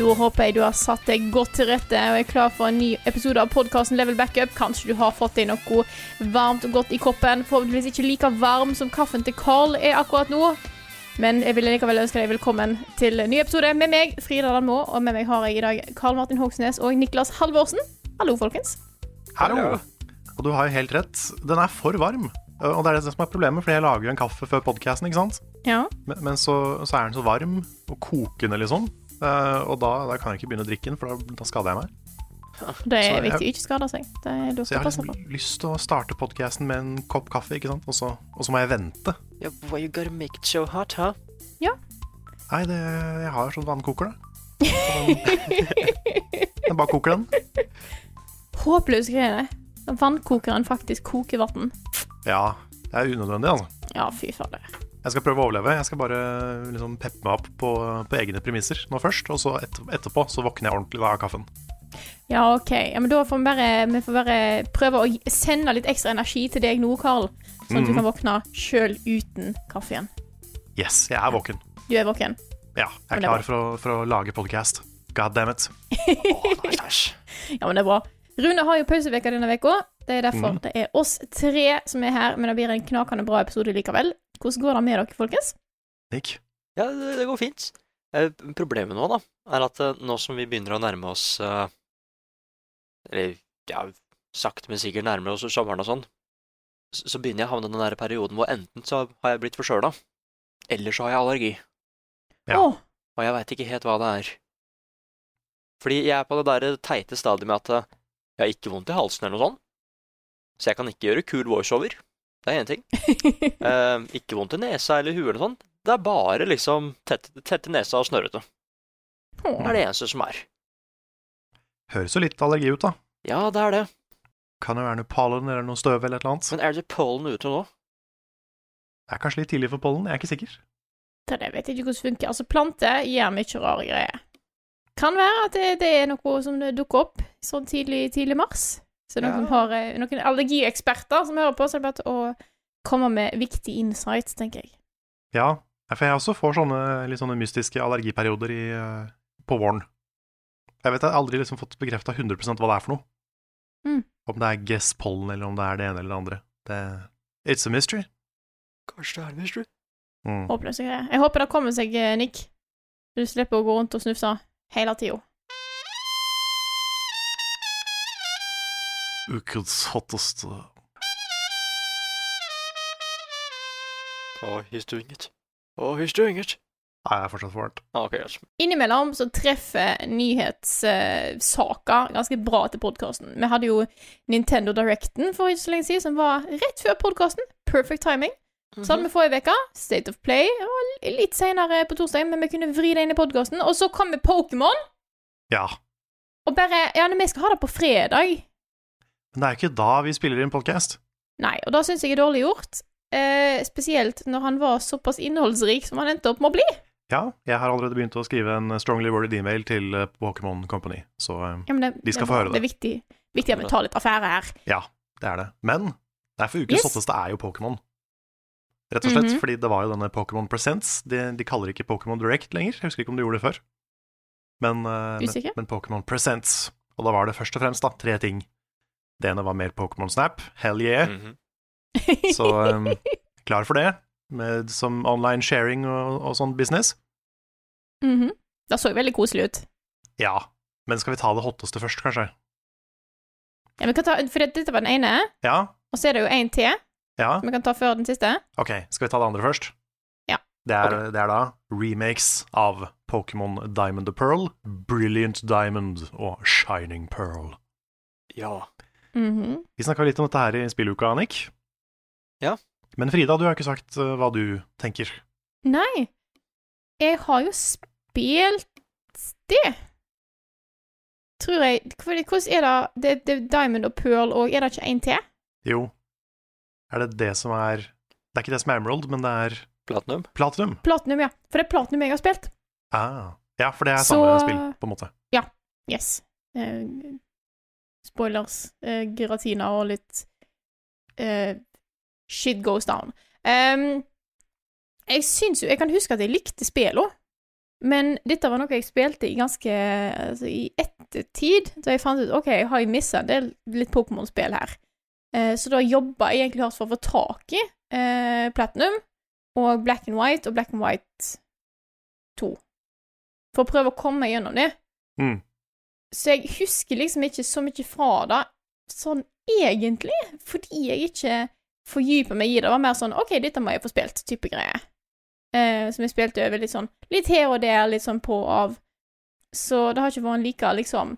Da håper jeg du har satt deg godt til rette og er klar for en ny episode av podkasten Level Backup. Kanskje du har fått deg noe varmt og godt i koppen. Forhåpentligvis ikke like varm som kaffen til Carl er akkurat nå. Men jeg vil likevel ønske deg velkommen til en ny episode med meg, Frida Danmo. Og med meg har jeg i dag Karl Martin Hogsnes og Niklas Halvorsen. Hallo, folkens. Hallo! Og du har jo helt rett. Den er for varm. Og det er det som er problemet, for jeg lager jo en kaffe før podkasten, ikke sant? Ja. Men, men så, så er den så varm og kokende, liksom. Eh, og da, da kan jeg ikke begynne å drikke den, for da, da skader jeg meg. Det er Så jeg- viktig å ikke skade seg. Det er du Så skal jeg har passe liksom på. lyst til å starte podkasten med en kopp kaffe, ikke sant? Og så, og så må jeg vente. Yeah, boy, you gotta make it so hot, huh? Nei, det, jeg har sånn vannkoker, da. Så Den, den bare koker den. Håpløse greiene. Når vannkokeren faktisk koker vann. Ja, det er unødvendig, altså. Ja, fy fader. Jeg skal prøve å overleve. Jeg skal bare liksom peppe meg opp på, på egne premisser nå først. Og så et, etterpå så våkner jeg ordentlig da av kaffen. Ja, OK. Ja, men da får vi bare, vi får bare prøve å gi- sende litt ekstra energi til deg nå, Karl. Sånn at Mhm. du kan våkne sjøl uten kaffen. Yes, jeg er våken. Du er våken. Ja, jeg Men det er er klar for å, for å lage podcast. God damn it. Æsj. Ja, men det er bra. Rune har jo pauseveka denne veka. Det er derfor Mhm. det er oss tre som er her, men det blir en knakende bra episode likevel. Hvordan går det med dere, folkens? Nick. Ja, det, det går fint. Eh, problemet nå, da, er at eh, nå som vi begynner å nærme oss eh, Eller ja, sakte, men sikkert nærme oss sommeren og sånn, så, så begynner jeg å havne i den der perioden hvor enten så har jeg blitt forkjøla, eller så har jeg allergi. Ja. Åh, Og jeg veit ikke helt hva det er. Fordi jeg er på det der teite stadiet med at eh, jeg har ikke vondt i halsen eller noe sånt. Så jeg kan ikke gjøre kul voiceover. Det er én ting. Eh, ikke vondt i nesa eller huet eller sånn. Det er bare liksom tett- tette nesa og snørrete. Det Åh. er det eneste som er. Høres jo litt allergi ut, da. Ja, det er det. Kan jo være noe pollen eller noe støv eller et eller annet. Men er det pollen ute nå? Det er kanskje litt tidlig for pollen, jeg er ikke sikker. Det der vet jeg ikke hvordan funker. Altså, planter gjør mye rare greier. Kan være at det, det er noe som dukker opp sånn tidlig, tidlig mars. Så noen, Ja. har, eh, noen allergieksperter som hører på, så er det bare å komme med viktige insights, tenker jeg. Ja, ja, for jeg også får sånne litt sånne mystiske allergiperioder i, eh, på våren. Jeg vet jeg har aldri liksom fått bekrefta 100 hva det er for noe. Mm. Om det er gresspollen, eller om det er det ene eller det andre. Det, it's a mystery. Kanskje det er det, tror du. Mm. Håpløse greier. Jeg håper det kommer seg, eh, Nick. Du slipper å gå rundt og snufse hele tida. Ukens hotteste Å, he's doing it. Å, he's doing it. Nei, det er fortsatt for varmt. Ah, ok, yes. Innimellom så treffer nyhetssaker ganske bra til podkasten. Vi hadde jo Nintendo Directen for ikke så lenge siden, som var rett før podkasten. Perfect timing. Mhm. Så hadde vi forrige uke State of Play, og litt senere på torsdag, men vi kunne vri det inn i podkasten. Og så kom vi Pokémon, Ja. og bare Ja, men vi skal ha det på fredag. Men det er jo ikke da vi spiller inn podkast. Nei, og da syns jeg er dårlig gjort. Eh, spesielt når han var såpass innholdsrik som han endte opp med å bli. Ja, jeg har allerede begynt å skrive en strongly worded e-mail til eh, Pokémon Company, så eh, Ja, men det, De skal det, få høre det. Det er viktig, viktig at vi tar litt affære her. ja, det er det. Men det er for ukens Yes. hotteste er jo Pokémon. Rett og slett Mhm. fordi det var jo denne Pokémon Presents. De, de kaller ikke Pokémon Direct lenger, jeg husker ikke om de gjorde det før. Men, eh, Usikker? men, men Pokémon Presents. Og da var det først og fremst da, tre ting. Det ene var mer Pokémon Snap. Hell yeah. Mhm. Mm. Så em, klar for det, med, som online sharing og, og sånn business. Mhm. Det så jo veldig koselig ut. Ja, men skal vi ta det hotteste først, kanskje? Ja, vi kan ta, for det- dette var den ene, Ja, og så er det jo en til ja, som vi kan ta før den siste. ok, skal vi ta det andre først? Det er, det er da remakes av Pokémon Diamond og Pearl, Brilliant Diamond og Shining Pearl. Ja. Mhm. Vi snakka litt om dette her i spilluka, Annik. Ja. Men Frida, du har ikke sagt eh, hva du tenker. Nei. Jeg har jo spilt det. Tror jeg Fordi Hvordan er det Det, det er Diamond og Pearl og Er det ikke en til? Jo, er det det som er Det er ikke det som er Emerald, men det er Platinum. Platinum. Platinum, ja. For det er Platinum jeg har spilt. Ah. Ja, for det er Så- samme spill, på en måte. Yes. Eh, spoilers, eh, giratina og litt eh, Shit goes down. Ehm, jeg syns jo Jeg kan huske at jeg likte spillene, men dette var noe jeg spilte i ganske altså, I ettertid, da jeg fant ut OK, jeg har jo missa en del litt Pokémon-spill her. Eh, så da jobba jeg egentlig hardt for å få tak i eh, Platinum og Black and White og Black and White 2. For å prøve å komme meg gjennom det. Mm. Så jeg husker liksom ikke så mye fra det, sånn egentlig, fordi jeg ikke fordyper meg i det. Det var mer sånn OK, dette må jeg få spilt, type greie. Eh, som jeg spilte over litt sånn litt her og der, litt sånn på og av. Så det har ikke vært en like liksom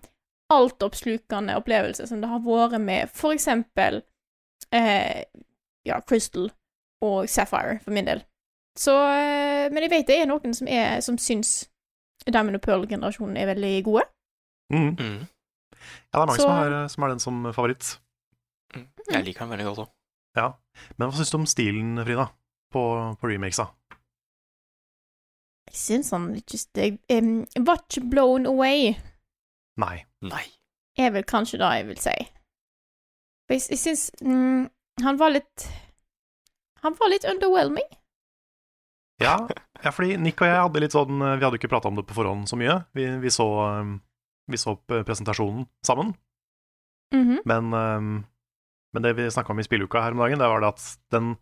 altoppslukende opplevelse som det har vært med for eksempel eh, ja, Crystal og Sapphire, for min del. Så eh, Men jeg vet det er noen som, er, som syns Diamond og Pearl-generasjonen er veldig gode. Mm. Mm. Ja, det er mange Så- som, har, eh, som har den som favoritt. Mm. Jeg liker den veldig godt òg. Men hva syns du om stilen, Frida, på, på remakesa? Jeg syns han just, jeg, em, jeg var ikke blown away, Nei. Nei. er vel kanskje det jeg vil si. For jeg, jeg syns mm, han var litt Han var litt underwhelming. Ja, ja, fordi Nick og jeg hadde litt sånn eh, Vi hadde jo ikke prata om det på forhånd så mye. Vi, vi, så, eh, vi så p- presentasjonen sammen, Mhm. men, eh, men det vi snakka om i spilluka her om dagen, det var det at den,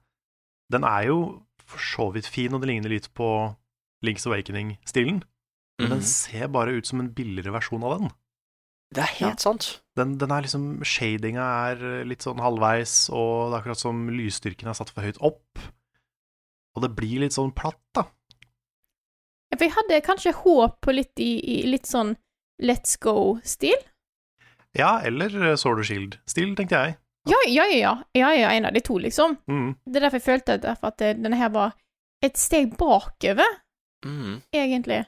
den er jo for så vidt fin, og det ligner litt på Links Awakening-stilen, men Mhm. den ser bare ut som en billigere versjon av den. Det er helt sant. Den, den er liksom, Shadinga er litt sånn halvveis, og det er akkurat som lysstyrken er satt for høyt opp. Og det blir litt sånn platt, da. Ja, For jeg hadde kanskje håp på litt i, i litt sånn let's go-stil. Ja, eller eh, Sword og Shield-stil, tenkte jeg. Ja, ja, ja, ja. Ja, ja, en av de to, liksom. Mm. Det er derfor jeg følte at, at eh, denne her var et steg bakover, Mm. egentlig.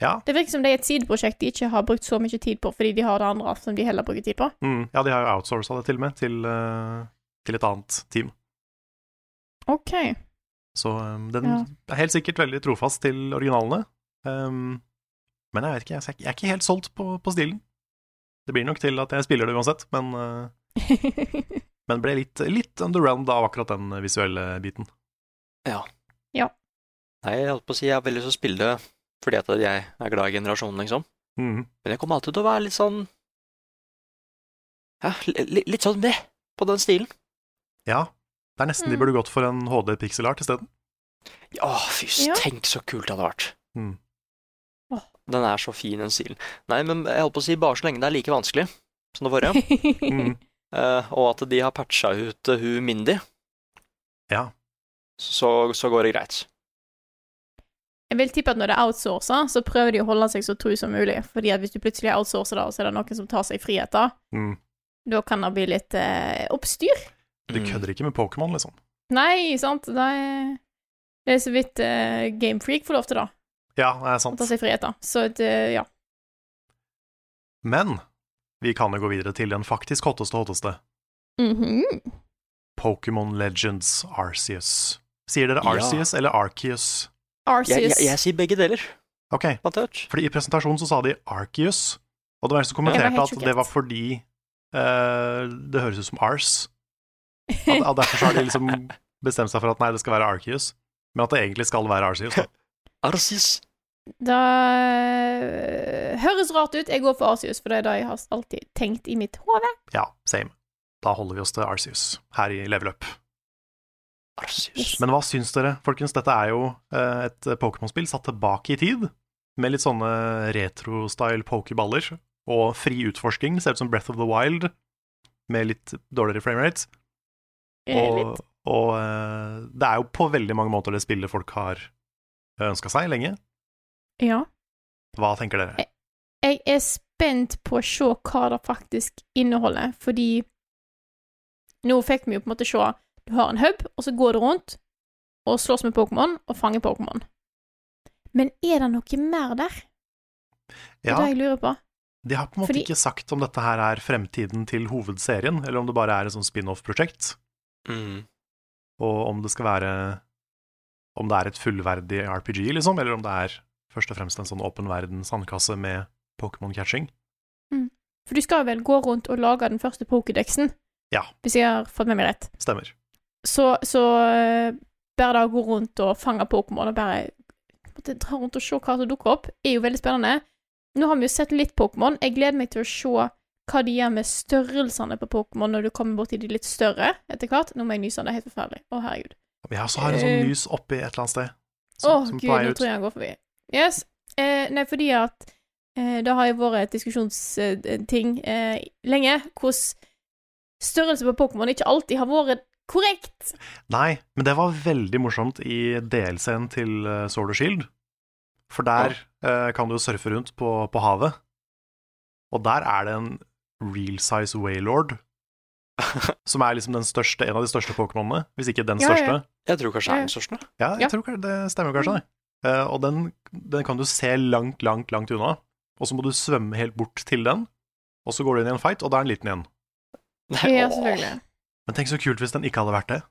Ja. Det virker som det er et sideprosjekt de ikke har brukt så mye tid på, fordi de har det andre som de heller bruker tid på. Mm. ja, de har jo outsourca det til og med, til, eh, til et annet team. OK. Så eh, den Ja. er helt sikkert veldig trofast til originalene. Um, men jeg vet ikke, jeg er ikke- jeg er ikke helt solgt på, på stilen. Det blir nok til at jeg spiller det uansett, men, eh, men ble litt, litt underwhelmed av akkurat den eh, visuelle biten. Nei, jeg holdt på å si jeg har veldig lyst til å spille det fordi at jeg er glad i generasjonen, liksom. Mm. Men jeg kommer alltid til å være litt sånn Ja, li- li- litt sånn med på den stilen. Ja. Det er nesten de Mm. burde gått for en HD pixel art isteden. Å, fy, s- Ja. tenk så kult det hadde vært. Mm. Åh. Den er så fin, den stilen. Nei, men jeg holdt på å si bare så lenge det er like vanskelig som det forrige, Mm. eh, og at de har patcha ut eh, hun Mindy, Ja. så, så går det greit. Jeg vil tippe at når det er outsourca, så prøver de å holde seg så tru som mulig. Fordi at hvis du plutselig outsourcer det, og så er det noen som tar seg friheter, Mm. da kan det bli litt eh, oppstyr. Du Mm. kødder ikke med Pokémon, liksom. Nei, sant? Det er, det er så vidt eh, Game Freak får lov til, da. Ja, det er Å sant. ta seg friheter. Så det, ja. Men vi kan jo gå videre til den faktisk hotteste hotteste. Mhm. Pokémon Legends Arceus. Sier dere Ja. Arceus eller Arceus? Arceus. Jeg, jeg, jeg sier begge deler, Ok, fant jeg ut. fordi i presentasjonen så sa de Arceus, og det var en som kommenterte Jeg var helt at det var fordi eh, det høres ut som Ars. At, at derfor så har de liksom bestemt seg for at nei, det skal være Arceus, men at det egentlig skal være Arceus. Da. Arsis. Da eh, høres rart ut. Jeg går for Arceus, for det er det jeg har alltid tenkt i mitt hode. Ja, same. Da holder vi oss til Arceus her i Level Up. Arsis. Men hva syns dere, folkens? Dette er jo eh, et Pokémon-spill satt tilbake i tid, med litt sånne retro-style pokerballer og fri utforsking. Ser ut som Breath of the Wild, med litt dårligere framerate. Eh, Og, og eh, det er jo på veldig mange måter det spillet folk har ønska seg lenge. Ja. Hva tenker dere? Jeg er spent på å se hva det faktisk inneholder, fordi nå fikk vi jo på en måte se Du har en hub, og så går du rundt og slåss med Pokémon og fanger Pokémon. Men er det noe mer der? Det er Eh, Ja, det jeg lurer på. de har på en måte fordi- ikke sagt om dette her er fremtiden til hovedserien, eller om det bare er et sånn spin-off-prosjekt, Mm. og om det skal være Om det er et fullverdig RPG, liksom, eller om det er først og fremst en sånn åpen verden sandkasse med Pokémon-catching. For du skal vel gå rundt og lage den første Pokédexen? Ja. Hvis jeg har fått med meg rett. Stemmer. Så, så eh, bare det å gå rundt og fange Pokémon og bare på en måte dra rundt og se hva som dukker opp, er jo veldig spennende. Nå har vi jo sett litt Pokémon. Jeg gleder meg til å se hva de gjør med størrelsene på Pokémon når du kommer borti de litt større etter hvert. Nå må jeg nyse, det er helt forferdelig. Å, herregud. Vi også har en sånn Eh. lys oppi et eller annet sted. Å, som- som gud, på vei nå ut. tror jeg han går forbi. Yes. Eh, nei, fordi at eh, det har jo vært et diskusjonsting eh, lenge hvordan størrelse på Pokémon ikke alltid har vært korrekt. Nei, men det var veldig morsomt i DLC-en til eh, Sword og Shield. For der eh, kan du jo surfe rundt på, på havet. Og der er det en real size waylord, som er liksom den største, en av de største pokémonene, hvis ikke den Ja, ja. største. Jeg tror kanskje det Ja. er den største. Ja, jeg Ja. Mm. tror ka- det stemmer kanskje, det. Eh, og den, den kan du se langt, langt, langt unna. Og så må du svømme helt bort til den, og så går du inn i en fight, og da er den liten igjen. Nei, Ja, åh. selvfølgelig. Men tenk så kult hvis den ikke hadde vært det.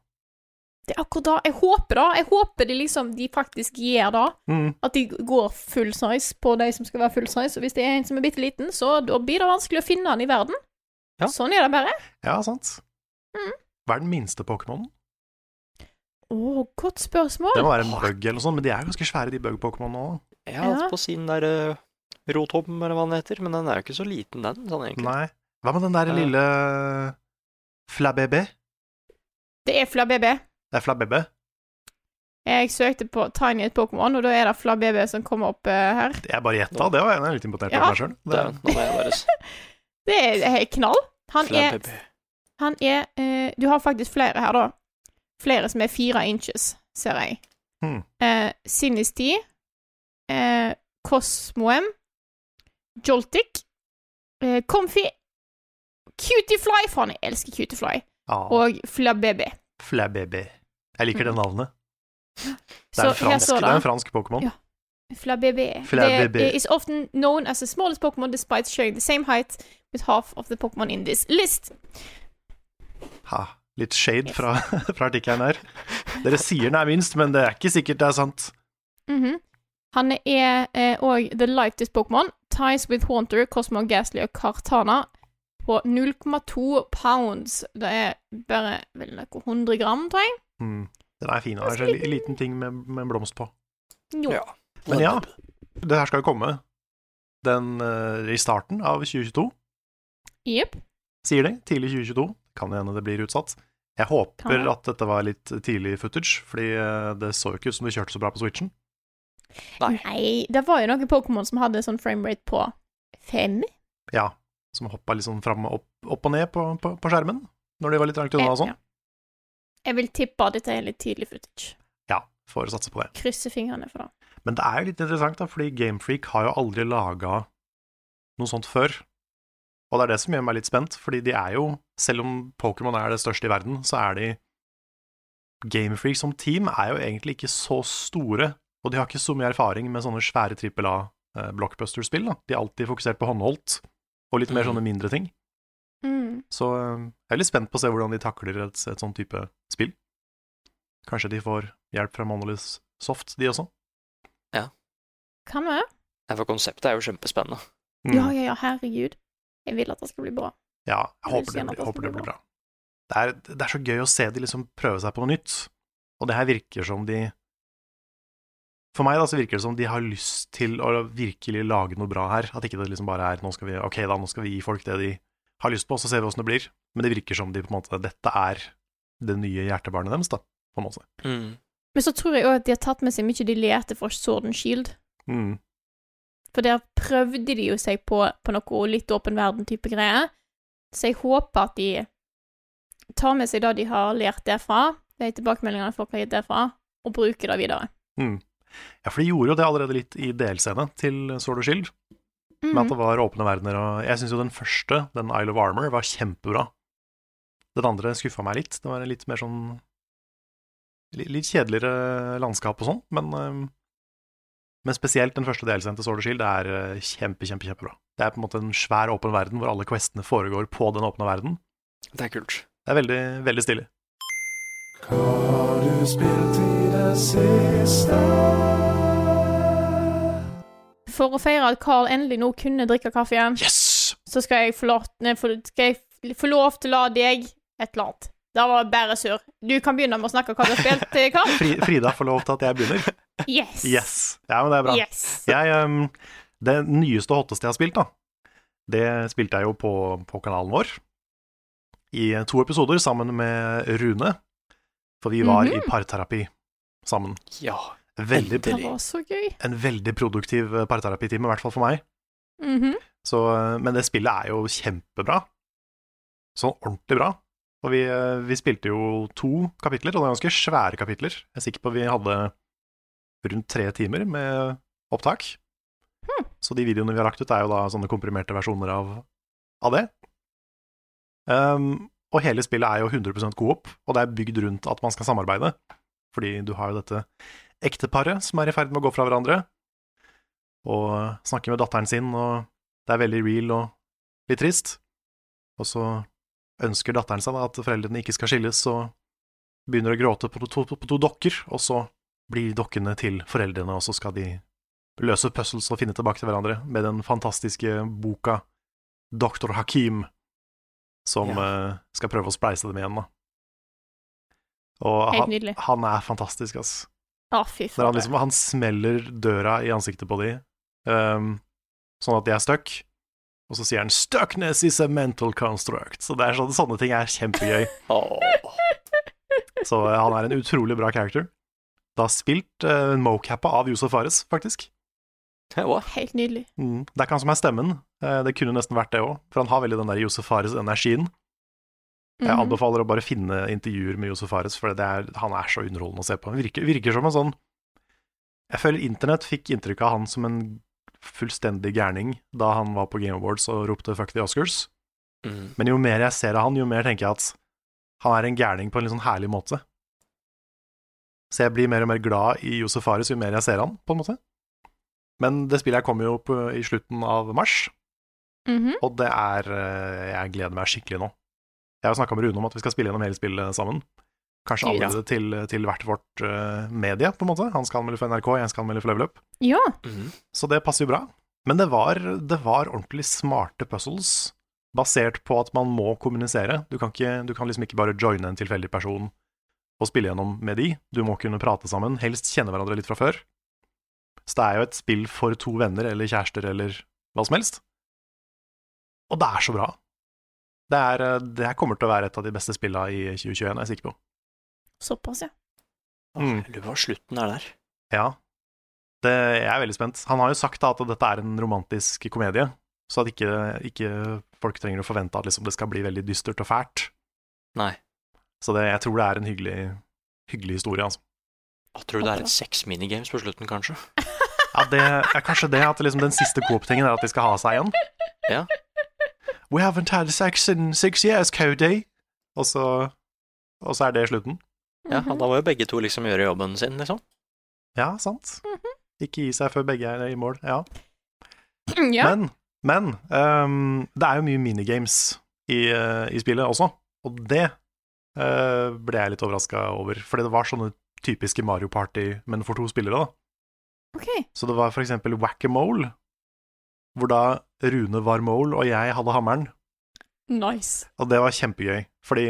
Det er akkurat da. Jeg håper da. Jeg håper de liksom de faktisk gjør det. Mm. At de går full size på de som skal være full size. Og hvis det er en som er bitte liten, så da blir det vanskelig å finne den i verden. Ja. Sånn er det bare. Ja, sant. Mm. Hva er den minste pokémonen? Å, godt spørsmål. Det må være en bug eller noe sånt, men de er ganske svære, de bug-pokémonene òg. Jeg har Ja. hatt på sin der uh, rotom, eller hva den heter, men den er jo ikke så liten, den, sånn egentlig. Nei. Hva med den der Ja. lille eh, Flabébé? Det er Flabébé. Det er Flabébé. Jeg søkte på Tiny Pokémon, og da er det Flabébé som kommer opp eh, her. Jeg bare gjetta, det var jeg jeg er litt imponert Ja. over meg sjøl. Dæven, nå må jeg bare s- Det er helt knall. Han er, Flabébé. han er eh, Du har faktisk flere her, da. Flere som er fire inches, ser jeg. Hmm. Eh, Sinistee, eh, Cosmoem, Joltic, eh, Comfy, Cutiefly Faen, jeg elsker Cutiefly. Ja, Og Flabébé. Flabébé. Jeg liker det navnet. Det Så er en her fransk, står det er en det. fransk Pokémon. Ja. Flabébé. It Flabébé. er is often known as a smallest Pokémon despite sharing the same height with half of the Pokémon in this list. Ha, litt shade Yes. fra, fra artikkelen her. Dere sier den er minst, men det er ikke sikkert det er sant. Mhm. Han er òg the lightest Pokémon. Ties with Haunter, Cosmo, Ghastly og Kartana på 0,2 pounds. Det er bare vel noe 100 gram, tror jeg. Mm. Den er fin. Den er en li- liten ting med, med en blomst på. Jo. Ja. Men ja, det her skal jo komme den, eh, i starten av 2022. Jepp. sier de. Tidlig 2022. Kan hende det blir utsatt. Jeg håper Kan det. at dette var litt tidlig footage, fordi eh, det så jo ikke ut som det kjørte så bra på Switchen. Nei. Nei, det var jo noen Pokémon som hadde sånn framerate på fem. Ja, som hoppa liksom fram og opp, opp og ned på, på, på skjermen når de var litt langt unna og Eh, Ja. sånn. Jeg vil tippe at dette er litt tidlig footage. Ja, får satse på det. Krysse fingrene for det. Men det er jo litt interessant, da, fordi Gamefreak har jo aldri laga noe sånt før. Og det er det som gjør meg litt spent, fordi de er jo, selv om Pokémon er det største i verden, så er de Gamefreak som team er jo egentlig ikke så store, og de har ikke så mye erfaring med sånne svære trippel A-blockbuster-spill. da. De er alltid fokusert på håndholdt, og litt mer Mhm. sånne mindre ting. Mm. Så eh, jeg er litt spent på å se hvordan de takler et, et sånn type spill. Kanskje de får hjelp fra Monolith Soft, de også. Kan vi? Nei, For konseptet er jo kjempespennende. Mm. Ja, ja, ja, herregud. Jeg vil at det skal bli bra. Ja, Jeg jeg vil håper si det, at blir, det håper skal det bli blir bra. Det er, det er så gøy å se de liksom prøve seg på noe nytt, og det her virker som de For meg da, så virker det som de har lyst til å virkelig lage noe bra her. At ikke det liksom bare er nå skal vi, ok da, nå skal vi gi folk det de har lyst på, så ser vi åssen det blir. Men det virker som de på en måte Dette er det nye hjertebarnet deres, da, på en måte. Mm. Men så tror jeg òg at de har tatt med seg mye de lærte fra Sword and Shield. Mm. For der prøvde de jo seg på, på noe litt åpen verden-type greier. Så jeg håper at de tar med seg det de har lært derfra, de tilbakemeldingene folk har gitt derfra, og bruker det videre. Ja, for de gjorde jo det allerede litt i delscenen til Sword og Shield, med Mhm. at det var åpne verdener. Og jeg syns jo den første, den Isle of Armor, var kjempebra. Den andre skuffa meg litt. Det var en litt mer sånn li- Litt kjedeligere landskap og sånn, men eh, men spesielt den første delscenen til Sword og Shield det er eh, kjempe, kjempe, kjempebra. Det er på en måte en svær åpen verden hvor alle questene foregår på den åpne verden. Det er kult. Det er veldig, veldig stilig. For å feire at Carl endelig nå kunne drikke kaffe igjen, Yes! så skal jeg få lov, nei, for, skal jeg få lov til å la deg et eller annet. Det var bare surr. Du kan begynne med å snakke hva du har spilt, eh, Carl. Fri, Frida får lov til at jeg begynner. Yes. Yes! Ja, men det er bra. Yes. Jeg, ehm, det nyeste og hotteste jeg har spilt, da, det spilte jeg jo på, på kanalen vår i to episoder sammen med Rune, for vi var i parterapi sammen. Ja. Veldig, Det var så gøy. en veldig produktiv parterapitime, i hvert fall for meg. Mhm. Så, eh, men det spillet er jo kjempebra. Sånn ordentlig bra. Og vi, eh, vi spilte jo to kapitler, og det er ganske svære kapitler. Jeg er sikker på vi hadde rundt tre timer med opptak. Så de videoene vi har lagt ut, er jo da sånne komprimerte versjoner av, av det. Ehm, og hele spillet er jo 100 coop, og det er bygd rundt at man skal samarbeide. Fordi du har jo dette ekteparet som er i ferd med å gå fra hverandre, og snakker med datteren sin og det er veldig real og litt trist. Og så ønsker datteren seg da at foreldrene ikke skal skilles, og begynner å gråte på to, på to dokker, og så blir dokkene til foreldrene, og så skal de løse puzzles og finne tilbake til hverandre med den fantastiske boka Doktor Hakim, som eh, skal prøve å spleise dem igjen, da. Og Helt han, nydelig. han er fantastisk, ass. Å, fy Når han, faen. liksom, han smeller døra i ansiktet på de, ehm, sånn at de er stuck. Og så sier han 'Stuckness is a mental construct'. Så det er sånne, sånne ting er kjempegøy. Åh. Så eh, han er en utrolig bra character. Da spilt uh, mocappa av Josef Fares, faktisk. Hei, hva? Helt nydelig. Mm. Det er ikke han som er stemmen, eh, det kunne nesten vært det òg, for han har veldig den der Josef Fares-energien. Jeg Mhm. anbefaler å bare finne intervjuer med Josef Fares, for det er, han er så underholdende å se på. Han virker, virker som en sånn Jeg føler internett fikk inntrykk av han som en fullstendig gærning da han var på Game Awards og ropte 'fuck the Oscars'. Mm. Men jo mer jeg ser av han, jo mer tenker jeg at han er en gærning på en litt sånn herlig måte. Så jeg blir mer og mer glad i Josef Fares jo mer jeg ser han, på en måte. Men det spillet her kommer jo opp i slutten av mars, Mhm. og det er eh, Jeg gleder meg skikkelig nå. Jeg har snakka med Rune om at vi skal spille gjennom hele spillet sammen. Kanskje Ja. allerede til, til hvert vårt eh, medie, på en måte. Han skal anmelde for NRK, jeg skal anmelde for Level Up. Ja. Mm. Så det passer jo bra. Men det var, det var ordentlig smarte puzzles, basert på at man må kommunisere. Du kan, ikke, du kan liksom ikke bare joine en tilfeldig person og spille gjennom med de. Du må kunne prate sammen, helst kjenne hverandre litt fra før. Så det er jo et spill for to venner eller kjærester eller hva som helst. Og det er så bra. Det, er, det her kommer til å være et av de beste spilla i 2021, er jeg sikker på. Såpass, ja. Mm. Jeg lurer på hva slutten er der. Ja. Det, jeg er veldig spent. Han har jo sagt da at dette er en romantisk komedie, så at ikke, ikke folk trenger å forvente at liksom det skal bli veldig dystert og fælt. Nei. Så det, jeg tror det er en hyggelig, hyggelig historie, altså. Jeg tror det er et seks minigames på slutten, kanskje. Ja, det er kanskje det at liksom den siste coop-tingen er at de skal ha seg igjen. Ja. We haven't had sex in six years, Cody. Og så, og så er det slutten. Ja, Mhm. Da må jo begge to liksom gjøre jobben sin, liksom. Ja, sant. Ikke gi seg før begge er i mål. Ja. Mhm. ja. Men, men ehm, det er jo mye minigames i, eh, i spillet også, og det eh, ble jeg litt overraska over. Fordi det var sånne typiske Mario Party, men for to spillere, da. OK. Så det var for eksempel Whack-a-Mole, hvor da Rune var Mole og jeg hadde hammeren, Nice. og det var kjempegøy. Fordi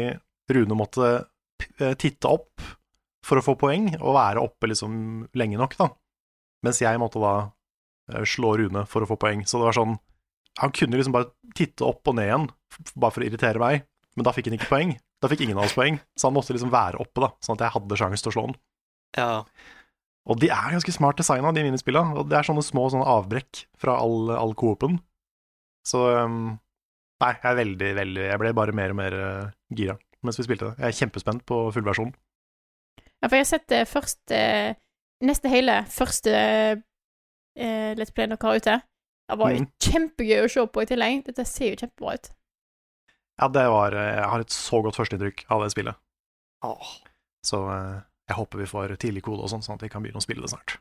Rune måtte p- eh, titte opp for å få poeng, og være oppe liksom lenge nok, da. Mens jeg måtte da eh, slå Rune for å få poeng. Så det var sånn Han kunne liksom bare titte opp og ned igjen, f- bare for å irritere meg, men da fikk han ikke poeng. Da fikk ingen av oss poeng, så han måtte liksom være oppe, da, sånn at jeg hadde sjanse til å slå han. Ja. Og de er ganske smart designa, de minispillene. Og det er sånne små sånne avbrekk fra all, all coopen. Så um, Nei, jeg er veldig, veldig Jeg ble bare mer og mer eh, gira mens vi spilte det. Jeg er kjempespent på fullversjonen. Ja, for jeg har sett det første eh, neste hele, første eh, Let's Play dere har ute, det var Mm. kjempegøy å se på i tillegg. Dette ser jo kjempebra ut. Ja, det var eh, Jeg har et så godt førsteinntrykk av det spillet, Åh. så eh, jeg håper vi får tidlig kode og sånn, sånn at vi kan begynne å spille det snart.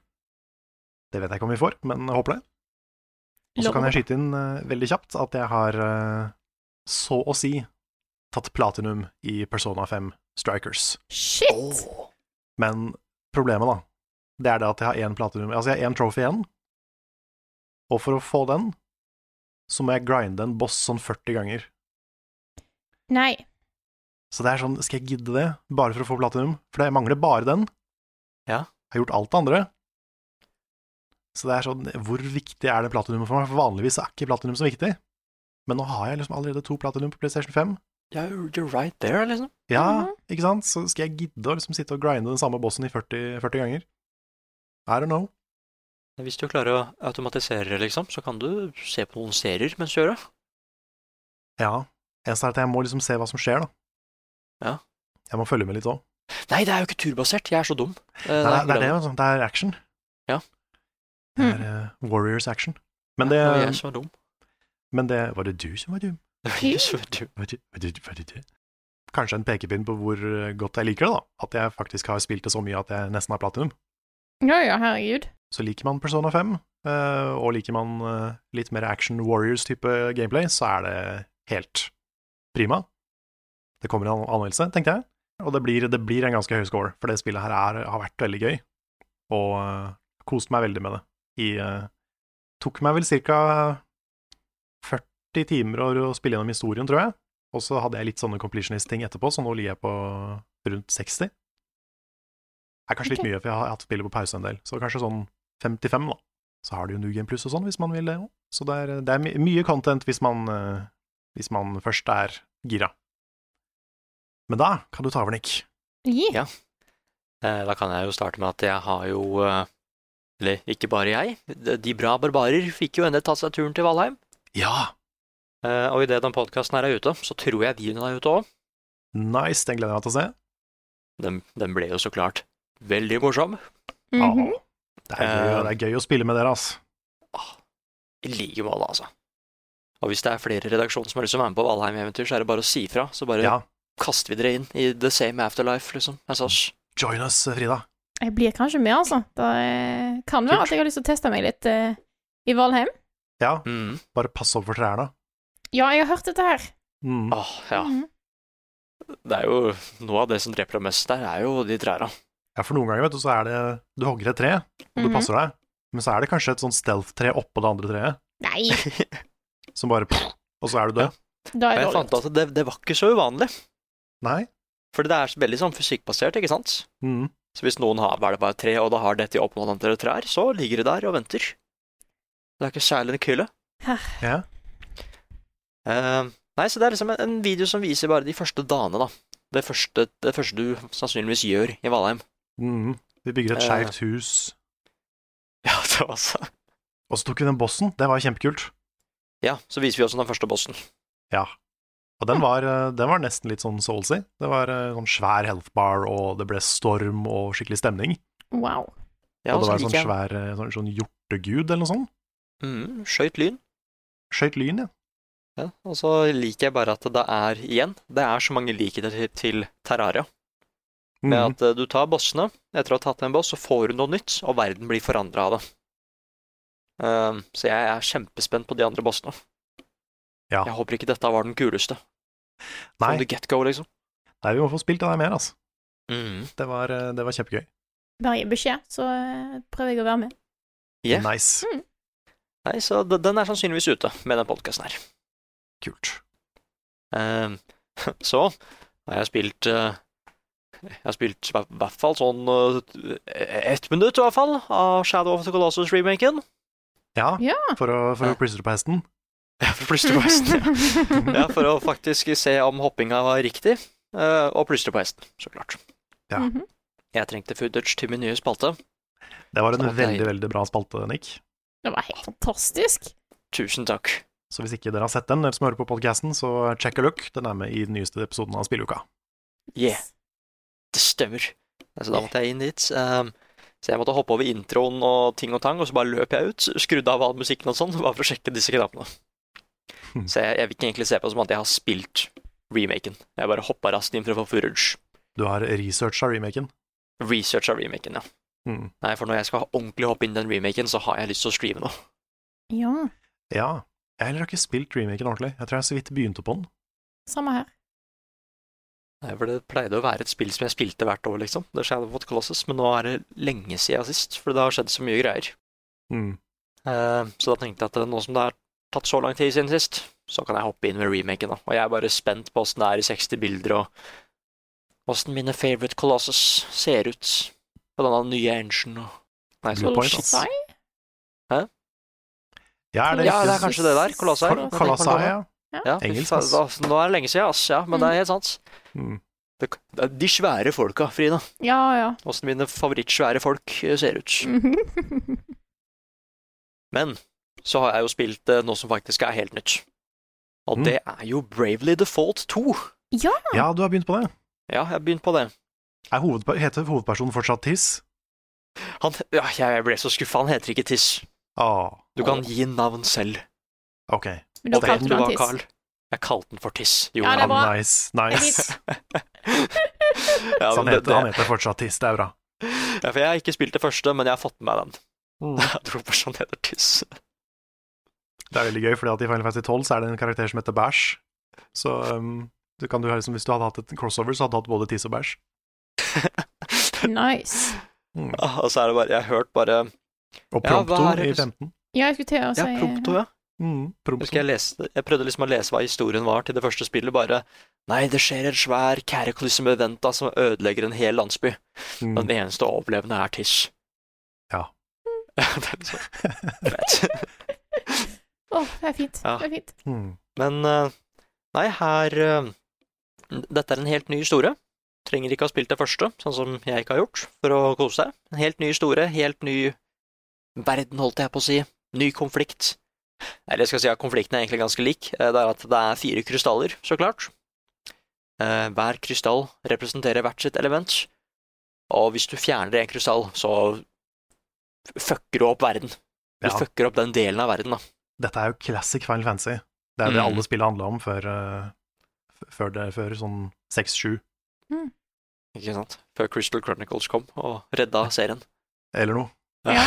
Det vet jeg ikke om vi får, men jeg håper det. Og så Lover kan jeg på. skyte inn eh, veldig kjapt at jeg har eh, så å si tatt platinum i Persona 5 Strikers. Shit! Men problemet, da, det er det at jeg har én platinum Altså, jeg har én trophy igjen, og for å få den, så må jeg grinde en boss sånn 40 ganger. Nei. Så det er sånn, skal jeg gidde det, bare for å få platinum? For jeg mangler bare den. Ja. Jeg har gjort alt det andre. Så det er sånn, hvor viktig er det platinumet for meg? For vanligvis er ikke platinum så viktig. Men nå har jeg liksom allerede to platinum på PlayStation 5. Ja, you're you're right there, liksom. Ja, Mhm. ikke sant? Så skal jeg gidde å liksom sitte og grinde den samme bossen i 40, 40 ganger? I don't know. Hvis du klarer å automatisere det, liksom, så kan du se på noen serier mens du gjør det. Ja. Eneste er at jeg må liksom se hva som skjer, da. Ja. Jeg må følge med litt òg. Nei, det er jo ikke turbasert. Jeg er så dum. Eh, Det, er- jeg det er det, glemmer. altså. Det er action. Ja. Det er eh, Warriors action. Men det, Ja, jeg er så dum. men det Var det du som var dum? Jeg er så dum. Var det- var det- var det du? Kanskje en pekepinn på hvor eh, godt jeg liker det, da. At jeg faktisk har spilt det så mye at jeg nesten har platinum. Ja ja, herregud. Så liker man Persona 5, eh, og liker man eh, litt mer action warriors-type gameplay, så er det helt prima. Det kommer en anmeldelse, tenkte jeg, og det blir, det blir en ganske høy score, for det spillet her er, har vært veldig gøy, og uh, koste meg veldig med det. I, eh, tok meg vel ca. 40 timer å, å spille gjennom historien, tror jeg, og så hadde jeg litt sånne completionist-ting etterpå, så nå ligger jeg på rundt 60. Det er kanskje litt Ok. mye, for jeg har hatt spillet på pause en del, så kanskje sånn 55, da. Så har du jo New Game Plus og sånn, hvis man vil det òg. Så det er, det er my mye content hvis man, eh, hvis man først er gira. Men da kan du ta over, Nick. Gi. Ja. Eh, Da kan jeg jo starte med at jeg har jo eh, Eller ikke bare jeg. de- De bra barbarer fikk jo endelig tatt seg turen til Valheim. Ja! Eh, Og idet den podkasten her er ute, så tror jeg videoen er ute òg. Nice, den gleder jeg meg til å se. Den, den ble jo så klart veldig morsom. Mhm. Ah, det, er gøy, det er gøy å spille med dere, ass. I like måte, altså. Og hvis det er flere i redaksjonen som har lyst til å være med på Valheim-eventyr, så er det bare å si fra. Så bare Ja, kaster vi dere inn i the same afterlife, liksom. Altså, sj. join us, Frida. Jeg blir kanskje med, altså. Det eh, kan være at jeg har lyst til å teste meg litt eh, i Valheim. Ja, mm. bare pass opp for trærne. Ja, jeg har hørt dette her. Mm. Åh, ja. Mhm. Det er jo noe av det som dreper deg mest der, er jo de trærne. Ja, for noen ganger, vet du, så er det Du hogger et tre, og du Mhm. passer deg, men så er det kanskje et sånt stealth-tre oppå det andre treet, Nei, som bare Og så er du død. da Og er det jeg fant dårlig. at det, det var ikke så uvanlig. Nei. For det er veldig sånn fysikkbasert, ikke sant? Mm. Så hvis noen har hvelva et tre, og da har dette oppnådd antall trær, så ligger det der og venter. Det er ikke særlig en kølle. Ja. Eh, nei, så det er liksom en, en video som viser bare de første dagene, da. Det første, det første du sannsynligvis gjør i Valheim. Mm. Vi bygger et Eh. skeivt hus. Ja, det var så. Og så tok vi den bossen, det var kjempekult. Ja, så viser vi også den første bossen. Ja. Og den var, eh, den var nesten litt sånn soulsy. Det var eh, sånn svær health bar, og det ble storm og skikkelig stemning. Wow. Ja, og det så var en liker sånn jeg- svær eh, sånn, sånn hjortegud eller noe sånt. Mm, skøyt lyn. Skøyt lyn, ja. Ja, og så liker jeg bare at det er, igjen, det er så mange likheter til, til Terraria. Mm. Med at eh, du tar bossene, etter å ha tatt en boss, så får du noe nytt, og verden blir forandra av det. Ehm, så jeg er kjempespent på de andre bossene. Ja. Jeg håper ikke dette var den kuleste. Nei, From the get-go, liksom. nei, vi må få spilt det der mer, altså. Mm. Det var, eh, det var kjempegøy. Bare gi beskjed, så eh, prøver jeg å være med. Yeah. Nice. Nei, så d- den er sannsynligvis ute med den podkasten her. Kult. Ehm, så har jeg spilt eh, Jeg har spilt i hver- hvert fall sånn eh, ett minutt, i hvert fall, av Shadow of the Colossus-remaken. Ja, Ja. for å, for å plystre på hesten. Ja, for plutselig var hesten, ja. Mm. Ja, for å faktisk se om hoppinga var riktig. eh, og plystre på hesten, så klart. Ja. Mhm. Jeg trengte footage til min nye spalte. Det var en Så det er veldig, deilig. veldig bra spalte, Nick. Det var helt fantastisk. Tusen takk. Så hvis ikke dere har sett den, dere som hører på podcasten, så check a look. Den er med i den nyeste episoden av Spilleuka. Yeah, det stemmer. Altså, da måtte jeg inn dit. Um, Så jeg måtte hoppe over introen og ting og tang, og så bare løp jeg ut, skrudde av all musikken og sånn, bare for å sjekke disse knappene. Så jeg, jeg vil ikke egentlig se på det som at jeg har spilt remaken. Jeg bare hoppa raskt inn for å få footage. Du har researcha remaken. Researcha remaken, ja. Mm. Nei, for når jeg skal ordentlig hoppe inn i den remaken, så har jeg lyst til å streame nå. Ja, Ja. Jeg heller har ikke spilt remaken ordentlig. Jeg tror jeg så vidt begynte på den. samme her. Nei, for det pleide å være et spill som jeg spilte hvert år, liksom. Det Shadow of the Colossus, men nå er det lenge siden sist, for det har skjedd så mye greier. Mm. Eh, Så da tenkte jeg at eh, nå som det har tatt så lang tid siden sist, så kan jeg hoppe inn med remaken. da. Og jeg er bare spent på åssen det er i 60 bilder, og åssen mine favorite colossus ser ut på denne nye engine. Og... Nei, så... Blue point, ass. Colossi? Ja, er det Ja, riktig? det er kanskje det der. Kolossai. Kol- Kolossai, ja. Ja, Engelsk, fy faen, ass. da- Nå er det lenge siden, ass. Ja, men det er helt sant. Mm. Det, det er de svære folka, Frida. Ja, ja. Åssen mine favorittsvære folk eh, ser ut. Mhm. Men så har jeg jo spilt eh, noe som faktisk er helt nytt. Og Mm. det er jo Bravely Default 2. ja, du har begynt på det. Ja, jeg har begynt på det. Er hovedper heter hovedpersonen fortsatt Tiss? Han, ja, jeg ble så skuffa. Han heter ikke Tiss. Ah, Du kan gi navn selv. ok. Men da Det er kalte den du Du han var Tiss. Carl. Jeg kalte den for Tiss. Jo, Ja, det er han- bra. Ah, Nice, nice. Ja, Så han, Sånn men det, heter, han det, heter fortsatt Tiss, det er bra. ja, for jeg har ikke spilt det første, men jeg har fått med meg den. Mm. Jeg tror bare han heter Tiss. Det er veldig gøy, fordi at i Final Fantasy 12 så er det en karakter som heter Bæsj. Så um, du kan du, ha liksom, hvis du hadde hatt et crossover, så hadde du hatt både Tiss og Bæsj. Nice. Mm. Ah, Og så er det bare Jeg har hørt bare Og Ja, hva Prompto er det- i 15. Ja, jeg skulle til å si Ja, Prompto, ja. Mm, Jeg Prompto. Husker jeg, leste, jeg prøvde liksom å lese hva historien var til det første spillet, bare Nei, det skjer et svær cataclysm-event da, som ødelegger en hel landsby. Og Mm. den eneste overlevende er Tish. Ja. Det er liksom så- Fett. eh, Åh, det er fint. Ja. Det er fint. Mm. Men eh, nei, her eh, Dette er en helt ny historie. Trenger ikke ha spilt det første, sånn som jeg ikke har gjort, for å kose deg. En helt ny historie, helt ny verden, holdt jeg på å si. Ny konflikt. Eller jeg skal si at konflikten er egentlig ganske lik. Eh, Det er at det er fire krystaller, så klart. Eh, Hver krystall representerer hvert sitt element. Og hvis du fjerner en krystall, så f- fucker du opp verden. Du Ja. fucker opp den delen av verden, da. Dette er jo classic Final Fantasy. Det er jo det Mm. alle spillet handla om før, eh, f- før, det, før sånn 6-7, Ikke sant? Før Crystal Chronicles kom og redda serien. eller noe. Ja.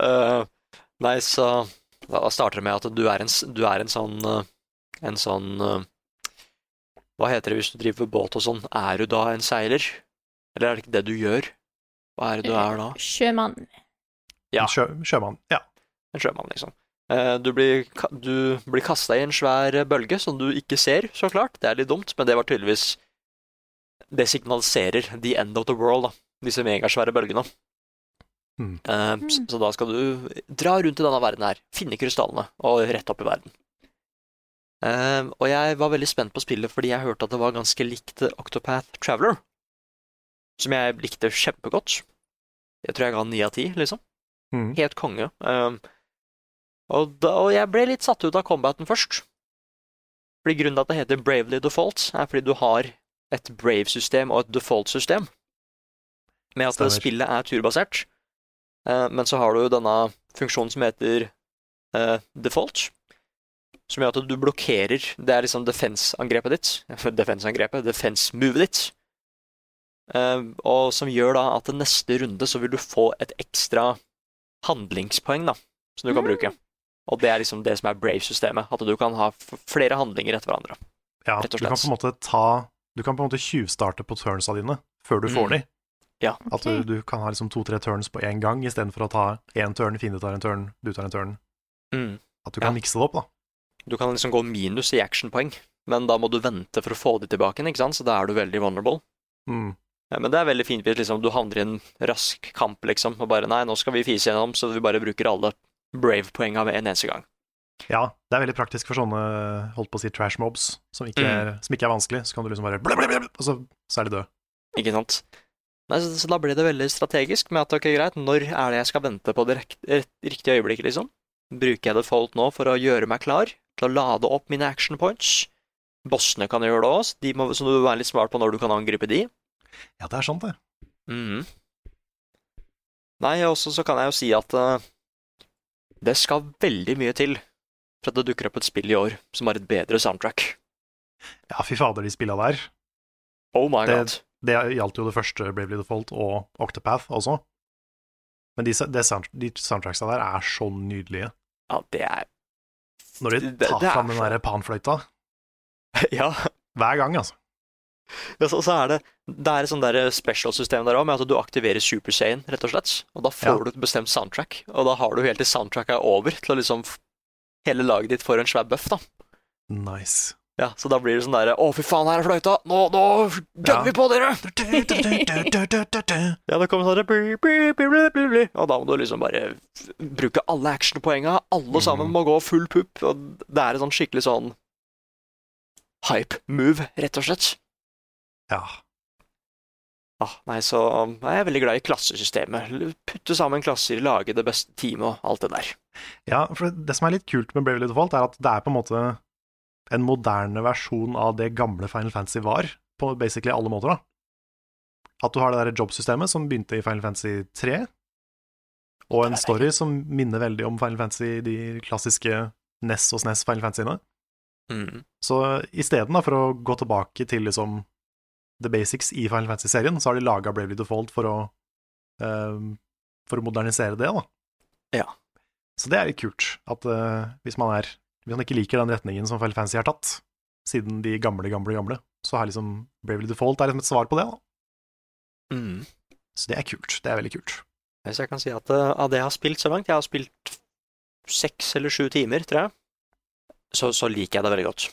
Eh, nei, så da starter det med at du er en, s- du er en sånn eh, En sånn eh, Hva heter det hvis du driver båt og sånn? Er du da en seiler? Eller er det ikke det du gjør? Hva er det du er da? Sjømann. Ja. Sjø, sjømann. Ja. En sjømann, liksom. Eh, Du blir, ka- du blir kasta i en svær eh, bølge som du ikke ser, så klart. Det er litt dumt, men det var tydeligvis Det signaliserer the end of the world, da. Disse megasvære bølgene. Mm. Eh, s- Mm. Så da skal du dra rundt i denne verden her, finne krystallene, og rett opp i verden. Eh, og jeg var veldig spent på spillet fordi jeg hørte at det var ganske likt eh, Octopath Traveler. Som jeg likte kjempegodt. Jeg tror jeg ga ni av ti, liksom. Mm. Helt konge. Ehm, og, da, og jeg ble litt satt ut av combaten først. Fordi Grunnen til at det heter Bravely Default, er fordi du har et Brave-system og et Default-system. Med at Stemmer. spillet er turbasert. Eh, men så har du jo denne funksjonen som heter eh, Default. Som gjør at du blokkerer Det er liksom defense-angrepet ditt. Defense-angrepet, defense-movet ditt. Eh, og som gjør da at neste runde så vil du få et ekstra handlingspoeng, da, som du kan Mm. bruke. Og det er liksom det som er Brave-systemet. At du kan ha f- flere handlinger etter hverandre. ja. rett Du og kan slett. på en måte ta Du kan på en måte tjuvstarte på turnsa dine før du får Mm. de. Ja. At du, du kan ha liksom to-tre turns på én gang istedenfor å ta én turn, fiende tar en turn, du tar en turn. At du kan Ja. mikse det opp, da. Du kan liksom gå minus i actionpoeng, men da må du vente for å få de tilbake, ikke sant? så da er du veldig vulnerable. Mm. Ja, men det er veldig fint hvis liksom, du havner i en rask kamp, liksom, og bare nei, nå skal vi fise gjennom, så vi bare bruker alle Brave-poenga ved en eneste gang. Ja, det er veldig praktisk for sånne holdt på å si trash mobs, som ikke, Mm. er, som ikke er vanskelig. Så kan du liksom bare bla, bla, bla, bla, og så, så er de døde. Ikke sant? Nei, så, så da ble det veldig strategisk med at ok, greit, når er det jeg skal vente på det rekt- eh, riktige øyeblikket, liksom? Bruker jeg default nå for å gjøre meg klar, til å lade opp mine action points? Bossene kan gjøre det også, de må, så du må være litt smart på når du kan angripe de. Ja, det er sant, det. Mhm. Nei, og så- så kan jeg jo si at eh, det skal veldig mye til for at det dukker opp et spill i år som har et bedre soundtrack. Ja, fy fader, de spilla der. Oh my Det- god. Det gjaldt jo det første Bravely Default og Octopath også. Men de, det sound, de soundtracksa der er så nydelige. Ja, det er Når de Det- tar det er fram den så- der panfløyta. Ja. Hver gang, altså. Og så, så er det Det er et sånt der special-system der òg, med at du aktiverer Super Saiyan, rett og slett. Og da får Ja. du et bestemt soundtrack. Og da har du helt til soundtracket er over, til å liksom f- Hele laget ditt får en svær bøff, da. Nice. Ja, Så da blir det sånn derre Å, fy faen, her er fløyta! Nå, nå gønner Ja. vi på dere! Det Ja, det kommer sånn der, bli, bli, bli, bli, bli, bli. Og da må du liksom bare f- bruke alle actionpoenga. Alle sammen Mhm. må gå full pupp. Og det er en sånn skikkelig sånn hype-move, rett og slett. Ja. Ja, nei, så um, jeg er veldig glad i klassesystemet. L- Putte sammen klasser, lage det beste teamet og alt det der. ja, for det som er litt kult med Bravely Default, er at det er på en måte en moderne versjon av det gamle Final Fantasy var, på basically alle måter, da. At du har det der jobbsystemet som begynte i Final Fantasy 3, og en story som minner veldig om Final Fantasy, de klassiske NES og SNES Final Fantasyene. Mm, Så isteden for å gå tilbake til liksom the basics i Final Fantasy-serien, så har de laga Bravely Default for å eh, For å modernisere det, da. Ja. Så det er litt kult, at eh, hvis man er Hvis man ikke liker den retningen som Final Fantasy har tatt, siden de gamle, gamle, gamle, så har liksom Bravely Default er liksom et svar på det, da. Mm. Så det er kult. Det er veldig kult. Så jeg kan si at uh, av det jeg har spilt så langt, jeg har spilt seks eller sju timer, tror jeg, så, så liker jeg det veldig godt.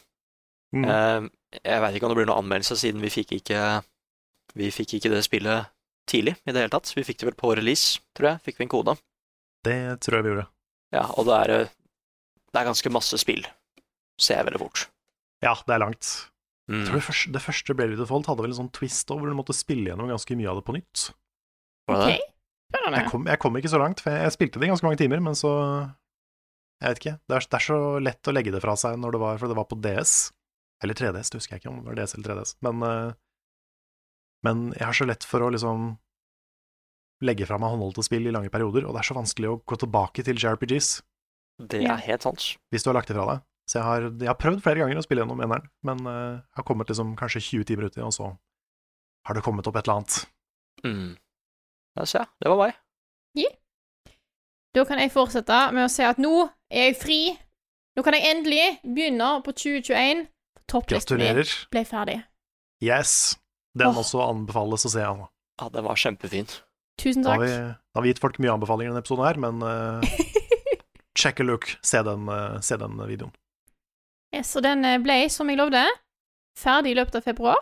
Mm. Eh, jeg veit ikke om det blir noen anmeldelse, siden vi fikk ikke Vi fikk ikke det spillet tidlig i det hele tatt. Vi fikk det vel på release, tror jeg. Fikk vi en kode. Det tror jeg vi gjorde. Ja, og det er, eh, det er ganske masse spill, ser jeg veldig fort. Ja, det er langt. Jeg tror Mm. det første, det første Bravely Default hadde vel en sånn twist over, hvor du måtte spille gjennom ganske mye av det på nytt. Var det OK? Spennende. Jeg kom, jeg kom ikke så langt, for jeg, jeg spilte det i ganske mange timer, men så Jeg vet ikke. Det er, det er så lett å legge det fra seg når det var For det var på DS. Eller 3DS, det husker jeg ikke om det var DS eller 3DS. Men, eh, men jeg har så lett for å liksom legge fra meg håndholdte spill i lange perioder, og det er så vanskelig å gå tilbake til JRPGs Det Ja. er helt sant. hvis du har lagt det fra deg. Så jeg har, jeg har prøvd flere ganger å spille gjennom eneren, men eh, jeg har kommet liksom kanskje 20 timer uti, og så har det kommet opp et eller annet. Mm. Der ser jeg. Det var meg. Da kan jeg fortsette med å si at nå er jeg fri. Nå kan jeg endelig begynne på 2021. Topplisten min Gratulerer. ble ferdig. Yes! Den Åh. også anbefales å se, altså. Ja, den var kjempefin. Tusen Da har, takk. vi, da har vi gitt folk mye anbefalinger i denne episoden her, men eh, check a look. Se den, eh, se den videoen. Yes, og den eh, ble, som jeg lovde, ferdig i løpet av februar.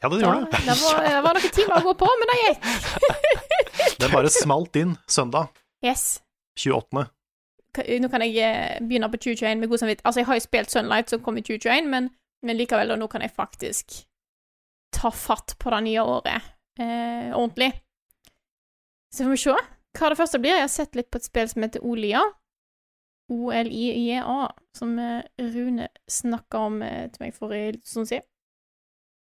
Ja, det Da, gjorde det. det, var, det var noen timer å gå på, men det gikk. Den bare smalt inn søndag Yes. 28. Ka- Nå kan jeg eh, begynne på 2021 med god samvittighet. Altså, jeg har jo spilt Sunlight, som kom i 2021, men, men likevel, og nå kan jeg faktisk ta fatt på det nye året eh, ordentlig. Så får vi se hva det første blir. Jeg har sett litt på et spill som heter Olia. O-L-I-J-A, E som eh, Rune snakka om eh, til meg for en liten stund siden.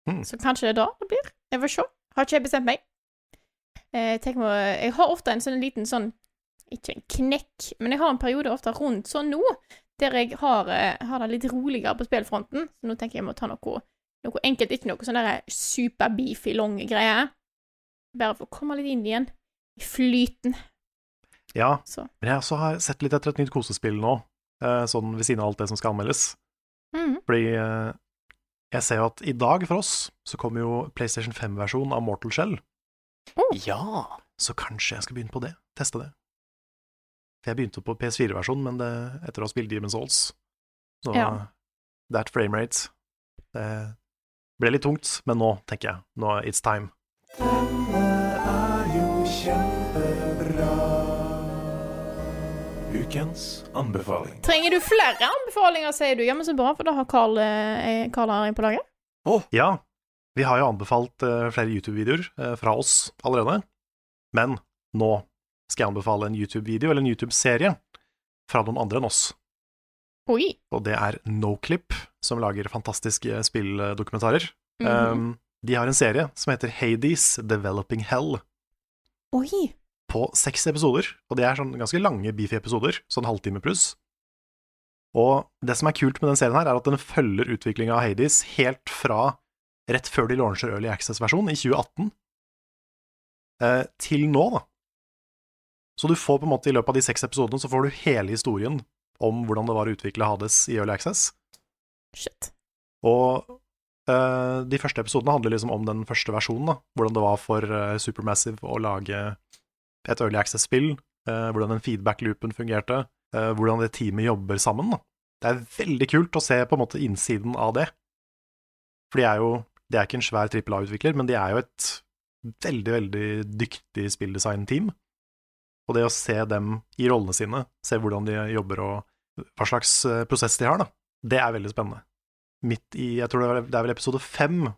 Mm. Så kanskje det er da det blir. Jeg får se. Har ikke jeg bestemt meg. Eh, tenk meg, å- jeg har ofte en sånn liten sånn ikke en knekk, men jeg har en periode ofte rundt sånn nå, der jeg har, eh, har det litt roligere på spillfronten. Så nå tenker jeg jeg må ta noe, noe enkelt, ikke noe sånn der superbeefy long greie. Bare for å komme litt inn igjen i flyten. Ja, Så. men jeg også har sett litt etter et nytt kosespill nå, eh, sånn ved siden av alt det som skal anmeldes. Mm. Fordi eh, jeg ser jo at i dag for oss så kommer jo PlayStation 5-versjonen av Mortal Shell, Ja. så kanskje jeg skal begynne på det. Teste det. For jeg begynte på PS4-versjonen, men det, etter å ha spilt Demon's Souls Så Ja. det er et framerate. Det ble litt tungt, men nå tenker jeg. Nå er it's time. Ukens anbefaling. Trenger du flere anbefalinger, sier du? Ja, men så bra, for da har Carl, eh, Carl her inne på laget. Ja, vi har jo anbefalt eh, flere YouTube-videoer eh, fra oss allerede, men nå skal jeg anbefale en YouTube-video eller en YouTube-serie fra noen andre enn oss. Oi. og det er Noclip, som lager fantastiske spilldokumentarer. Mhm. um, de har en serie som heter Hades Developing Hell, Oi. på seks episoder, og det er sånn ganske lange beefy-episoder, sånn halvtime pluss. Og det som er kult med den serien her, er at den følger utviklinga av Hades helt fra rett før de launcher Early Access-versjonen i 2018, eh, til nå, da. Så du får på en måte i løpet av de seks episodene så får du hele historien om hvordan det var å utvikle Hades i Early Access. Shit. Og eh, de første episodene handler liksom om den første versjonen, da. Hvordan det var for eh, Supermassive å lage et Early Access-spill. eh, hvordan den feedback-loopen fungerte. eh, hvordan det teamet jobber sammen. Da. Det er veldig kult å se på en måte innsiden av det. For de er jo De er ikke en svær trippel A-utvikler, men de er jo et veldig, veldig dyktig spilldesign-team. Og det å se dem i rollene sine, se hvordan de jobber og hva slags eh, prosess de har, da, det er veldig spennende midt i Jeg tror det er, det er vel episode fem,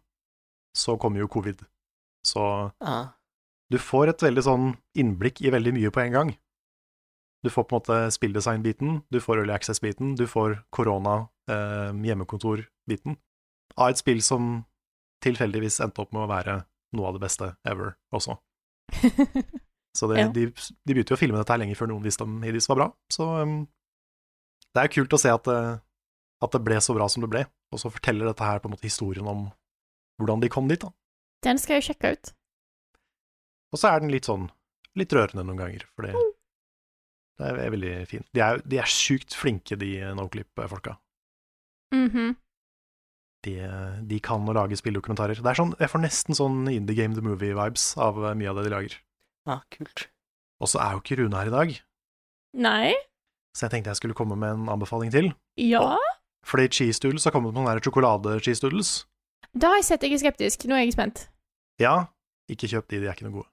så kommer jo covid. Så Ah. du får et veldig sånn innblikk i veldig mye på en gang. Du får på en måte spilldesign-biten, du får early access-biten, du får korona, eh, hjemmekontor-biten. Av et spill som tilfeldigvis endte opp med å være noe av det beste ever også. Så det, Ja. de, de begynte jo å filme dette her lenge før noen visste om Hades var bra. Så um, det er jo kult å se at det, at det ble så bra som det ble, og så forteller dette her på en måte historien om hvordan de kom dit. da. Den skal jeg sjekke ut. Og så er den litt sånn litt rørende noen ganger, for det, det er veldig fint. De er, de er sjukt flinke, de eh, Noclip-folka. Mhm. De, eh, de kan å lage spilledokumentarer. Det er sånn, Jeg får nesten sånn Indie Game The Movie-vibes av eh, mye av det de lager. ah, kult. Og så er jo ikke Rune her i dag, Nei. så jeg tenkte jeg skulle komme med en anbefaling til. Ja. Fordi cheese doodles har kommet med sånne her sjokolade-cheese doodles. Da har jeg sett jeg er skeptisk. Nå er jeg spent. Ja, ikke kjøp de, de er ikke noe gode.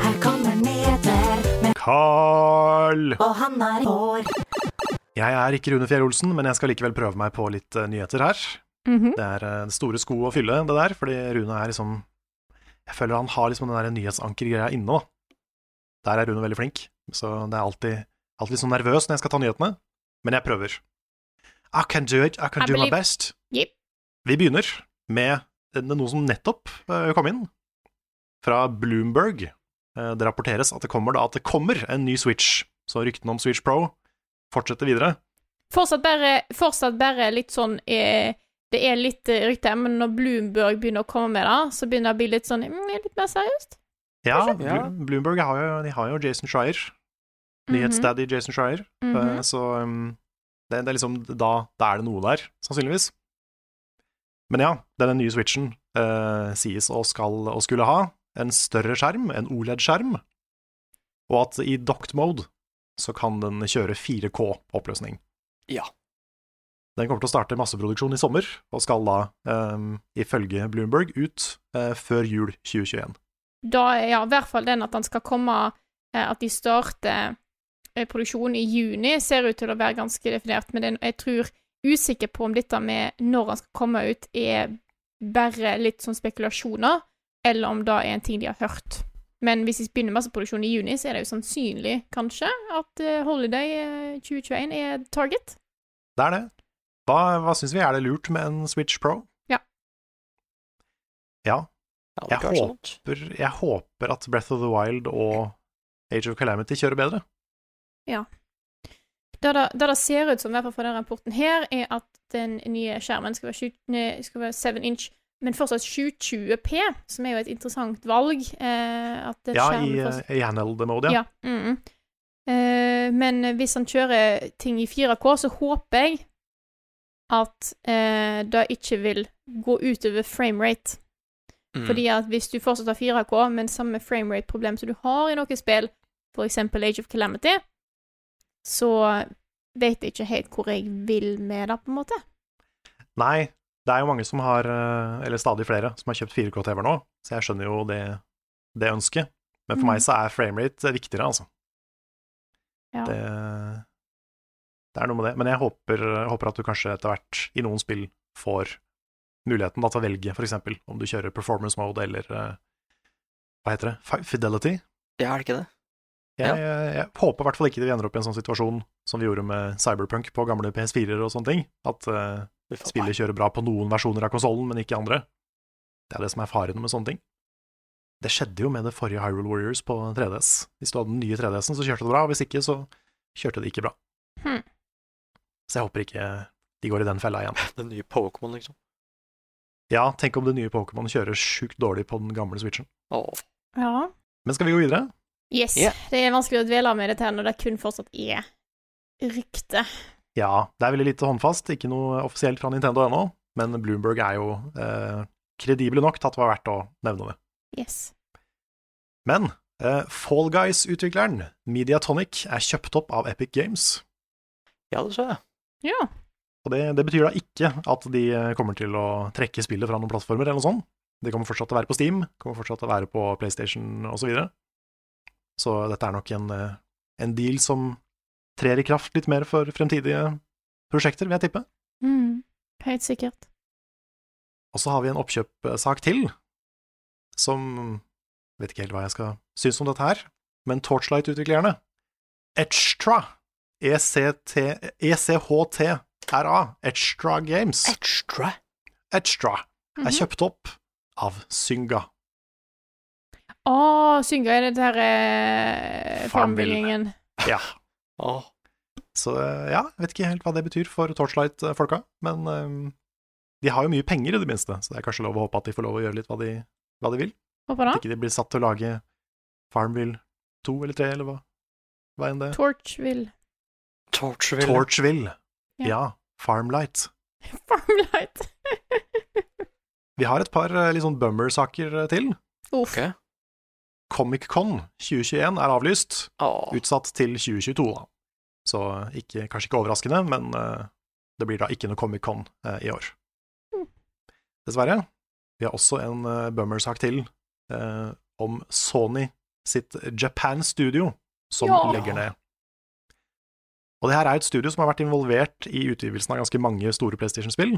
Her kommer Neder, Carl! og han er hår. Jeg er ikke Rune Fjell Olsen, men jeg skal likevel prøve meg på litt eh, nyheter her. Mhm. Det er eh, store sko å fylle, det der, fordi Rune er liksom Jeg føler han har liksom den der nyhetsankergreia inne, da. Der er Rune veldig flink, så det er alltid, alltid litt sånn nervøs når jeg skal ta nyhetene, men jeg prøver. I can do it, I can I do my believe- best. Yep. Vi begynner med eh, noe som nettopp eh, kom inn, fra Bloomberg. Eh, Det rapporteres at det kommer da at det kommer en ny Switch, så ryktene om Switch Pro fortsetter videre. Fortsatt bare, fortsatt bare litt sånn eh, Det er litt eh, rykter, men når Bloomberg begynner å komme med det, så begynner det å bli litt sånn mm, litt mer seriøst. Ja, Kanskje? Ja. Mhm. Blo- Bloomberg har jo, de har jo Jason Schreier, nyhetsdaddy Jason Schreier. Mhm, mhm. Eh, Så um, det, det er liksom da, da er det noe der, sannsynligvis. Men ja, denne nye switchen eh, sies å skal og skulle ha en større skjerm, en OLED-skjerm, og at i docked mode så kan den kjøre 4K-oppløsning. Ja. Den kommer til å starte masseproduksjon i sommer, og skal da, um, ifølge Bloomberg, ut eh, før jul 2021. Da er ja, i hvert fall den at den skal komme eh, At de starter eh, produksjonen i juni, ser ut til å være ganske definert. Men den, jeg tror usikker på om dette med når den skal komme ut, er bare litt sånn spekulasjoner, eller om det er en ting de har hørt. Men hvis de begynner masseproduksjon i juni, så er det jo sannsynlig, kanskje, at eh, Holiday eh, 2021 er target. Det er det. Hva, hva syns vi? Er det lurt med en Switch Pro? Ja. Ja, Ja, det Jeg kan være sånt. håper, jeg håper at Breath of the Wild og Age of Calamity kjører bedre. Det det, det det ser ut som, i hvert fall fra den rapporten her, er at den nye skjermen skal være, 7, nei, skal være 7 inch, men fortsatt 720p, som er jo et interessant valg. Eh, at Ja, skjermen i, eh, fortsatt- i handheld-mode, ja. Ja. mm, mm. Eh, men hvis han kjører ting i 4K, så håper jeg at eh, det ikke vil gå utover framerate. Mm. Fordi at hvis du fortsatt har 4K, men samme framerate-problem som du har i noen spill, for eksempel Age of Calamity, så vet jeg ikke helt hvor jeg vil med det, på en måte. Nei, det er jo mange som har, eh, eller stadig flere, som har kjøpt 4K-TV-er nå, så jeg skjønner jo det, det ønsket. Men for Mm. meg så er framerate viktigere, altså. Ja. Det, det er noe med det. Men jeg håper, håper at du kanskje etter hvert i noen spill får muligheten da, til å velge, for eksempel, om du kjører performance mode eller eh, hva heter det, Fi- fidelity? Ja, er det ikke det? Jeg, jeg, jeg håper i hvert fall ikke vi ender opp i en sånn situasjon som vi gjorde med Cyberpunk på gamle PS4-er og sånne ting, at eh, Uff, spillet kjører bra på noen versjoner av konsollen, men ikke andre. Det er det som er faren med sånne ting. Det skjedde jo med det forrige Hyrule Warriors på 3DS. Hvis du hadde den nye 3DS-en, så kjørte det bra, og hvis ikke, så kjørte det ikke bra. Hm. Hmm. Så jeg håper ikke de går i den fella igjen. Den nye Pokémon, liksom. Ja, tenk om det nye Pokémon kjører sjukt dårlig på den gamle Switchen. Åh. Ja. Men skal vi gå videre? Yes. Ja. Det er vanskelig å dvele med dette her når det kun fortsatt er rykte. Ja, det er veldig lite håndfast, ikke noe offisielt fra Nintendo ennå, men Bloomberg er jo eh, kredible nok til at det var verdt å nevne det. Yes. Men eh, Fall Guys-utvikleren Mediatonic er kjøpt opp av Epic Games, Ja, det så jeg. Ja. og det, det betyr da ikke at de eh, kommer til å trekke spillet fra noen plattformer eller noe sånt. Det kommer fortsatt til å være på Steam, kommer fortsatt til å være på PlayStation osv. Så, videre. så dette er nok en, eh, en deal som trer i kraft litt mer for fremtidige prosjekter, vil jeg tippe. Hm. Mm. Helt sikkert. Og så har vi en oppkjøpssak til, som vet ikke helt hva jeg skal synes om dette her, men Torchlight-utviklerne, Extra, E ECT, ECHTRA, Extra Games, Extra. Extra, er Mhm. kjøpt opp av Synga. Å, Synga er det der eh, Farmville. farmbyggingen. Ja, Åh. så eh, ja, vet ikke helt hva det betyr for Torchlight-folka, men eh, de har jo mye penger i det minste, så det er kanskje lov å håpe at de får lov å gjøre litt hva de, hva de vil. Håper det. At ikke de blir satt til å lage Farmville 2 eller 3, eller hva, hva enn det Torchville. Torchville. Torchville. Ja. Ja. Farmlight. Farmlight. Vi har et par eh, litt sånn bummer-saker eh, til. Uff. Ok. Comic-Con 2021 er avlyst, Åh. utsatt til 2022, da. Så eh, ikke, kanskje ikke overraskende, men eh, det blir da ikke noe Comic-Con eh, i år. Mm. Dessverre. Vi har også en eh, bummer-sak til eh, om Sony sitt Japan Studio, som Ja. legger ned. Og det her er et studio som har vært involvert i utgivelsen av ganske mange store PlayStation-spill.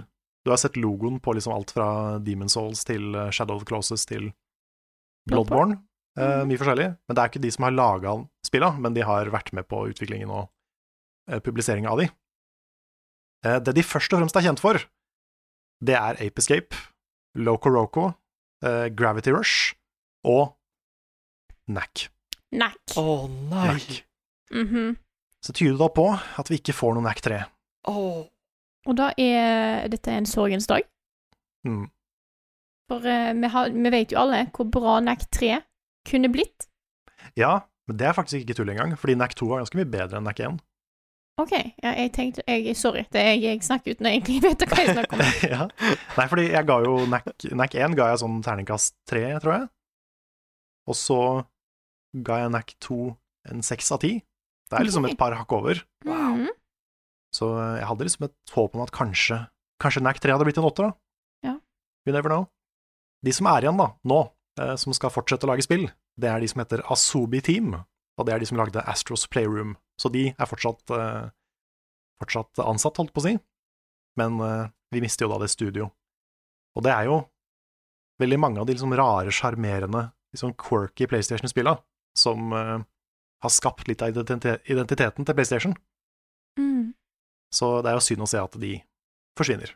Du har sett logoen på liksom alt fra Demon's Souls til eh, Shadow of the Closes til Bloodborne. Eh, mye forskjellig. Men det er ikke de som har laga spilla, men de har vært med på utviklingen og eh, publiseringen av de. Eh, det de først og fremst er kjent for, det er Ape Escape, Loco Roco, eh, Gravity Rush og Knack. Nack. Åh, nei. Knack. Mhm. Så tyder det da på at vi ikke får noe Knack 3. Åh. Og da er dette er en sorgens dag. Mm. For eh, vi, har, vi vet jo alle hvor bra Nack 3 kunne blitt. Ja, men det er faktisk ikke tull engang, fordi Knack 2 var ganske mye bedre enn Knack 1. OK, ja, jeg tenkte jeg, Sorry, det er jeg, jeg snakker uten å egentlig vite hva jeg snakker om. ja. Nei, fordi jeg ga jo NAC, NAC 1 ga jeg sånn terningkast 3, tror jeg. Og så ga jeg NAC 2 en 6 av 10. Det er liksom Ok. et par hakk over. Mhm. Så jeg hadde liksom et håp om at kanskje, kanskje NAC 3 hadde blitt en 8, da. Ja. You never know. De som er igjen da, nå, eh, som skal fortsette å lage spill, det er de som heter Asobi Team, og det er de som lagde Astros Playroom. Så de er fortsatt, eh, fortsatt ansatt, holdt på å si, men eh, vi mister jo da det studio. Og det er jo veldig mange av de liksom rare, sjarmerende, liksom quirky PlayStation-spilla som eh, har skapt litt av identite- identiteten til PlayStation. Mm. Så det er jo synd å se at de forsvinner.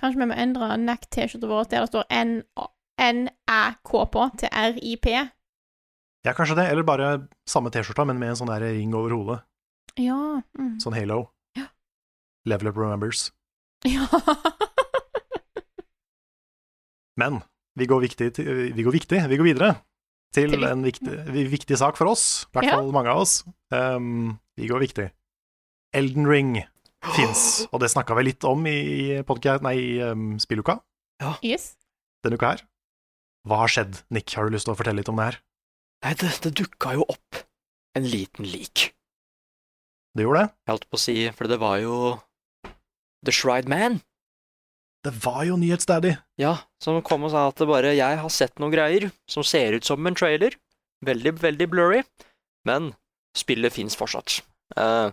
Kanskje vi må endre NAC-T-skjorta vår der det står N- NAK på, til RIP. Ja, kanskje det, eller bare samme T-skjorta, men med en sånn der ring over hodet, Ja. Mm. sånn halo. Ja. Level up remembers. ja. Men vi går viktig, til, vi går, viktig, vi går videre til Til- en viktig, viktig sak for oss, i hvert Ja. fall mange av oss. Ehm, vi går viktig. Elden Ring fins, og det snakka vi litt om i, i, podcast, nei, i ehm, spilluka yes. denne uka her. Hva har skjedd, Nick, har du lyst til å fortelle litt om det her? Nei, det, det dukka jo opp en liten lik. Det gjorde det. Jeg holdt på å si, for det var jo The Shride Man. Det var jo nyhetsdaddy. Ja, som kom og sa at det bare jeg har sett noen greier som ser ut som en trailer. Veldig, veldig blurry. Men spillet fins fortsatt. Eh,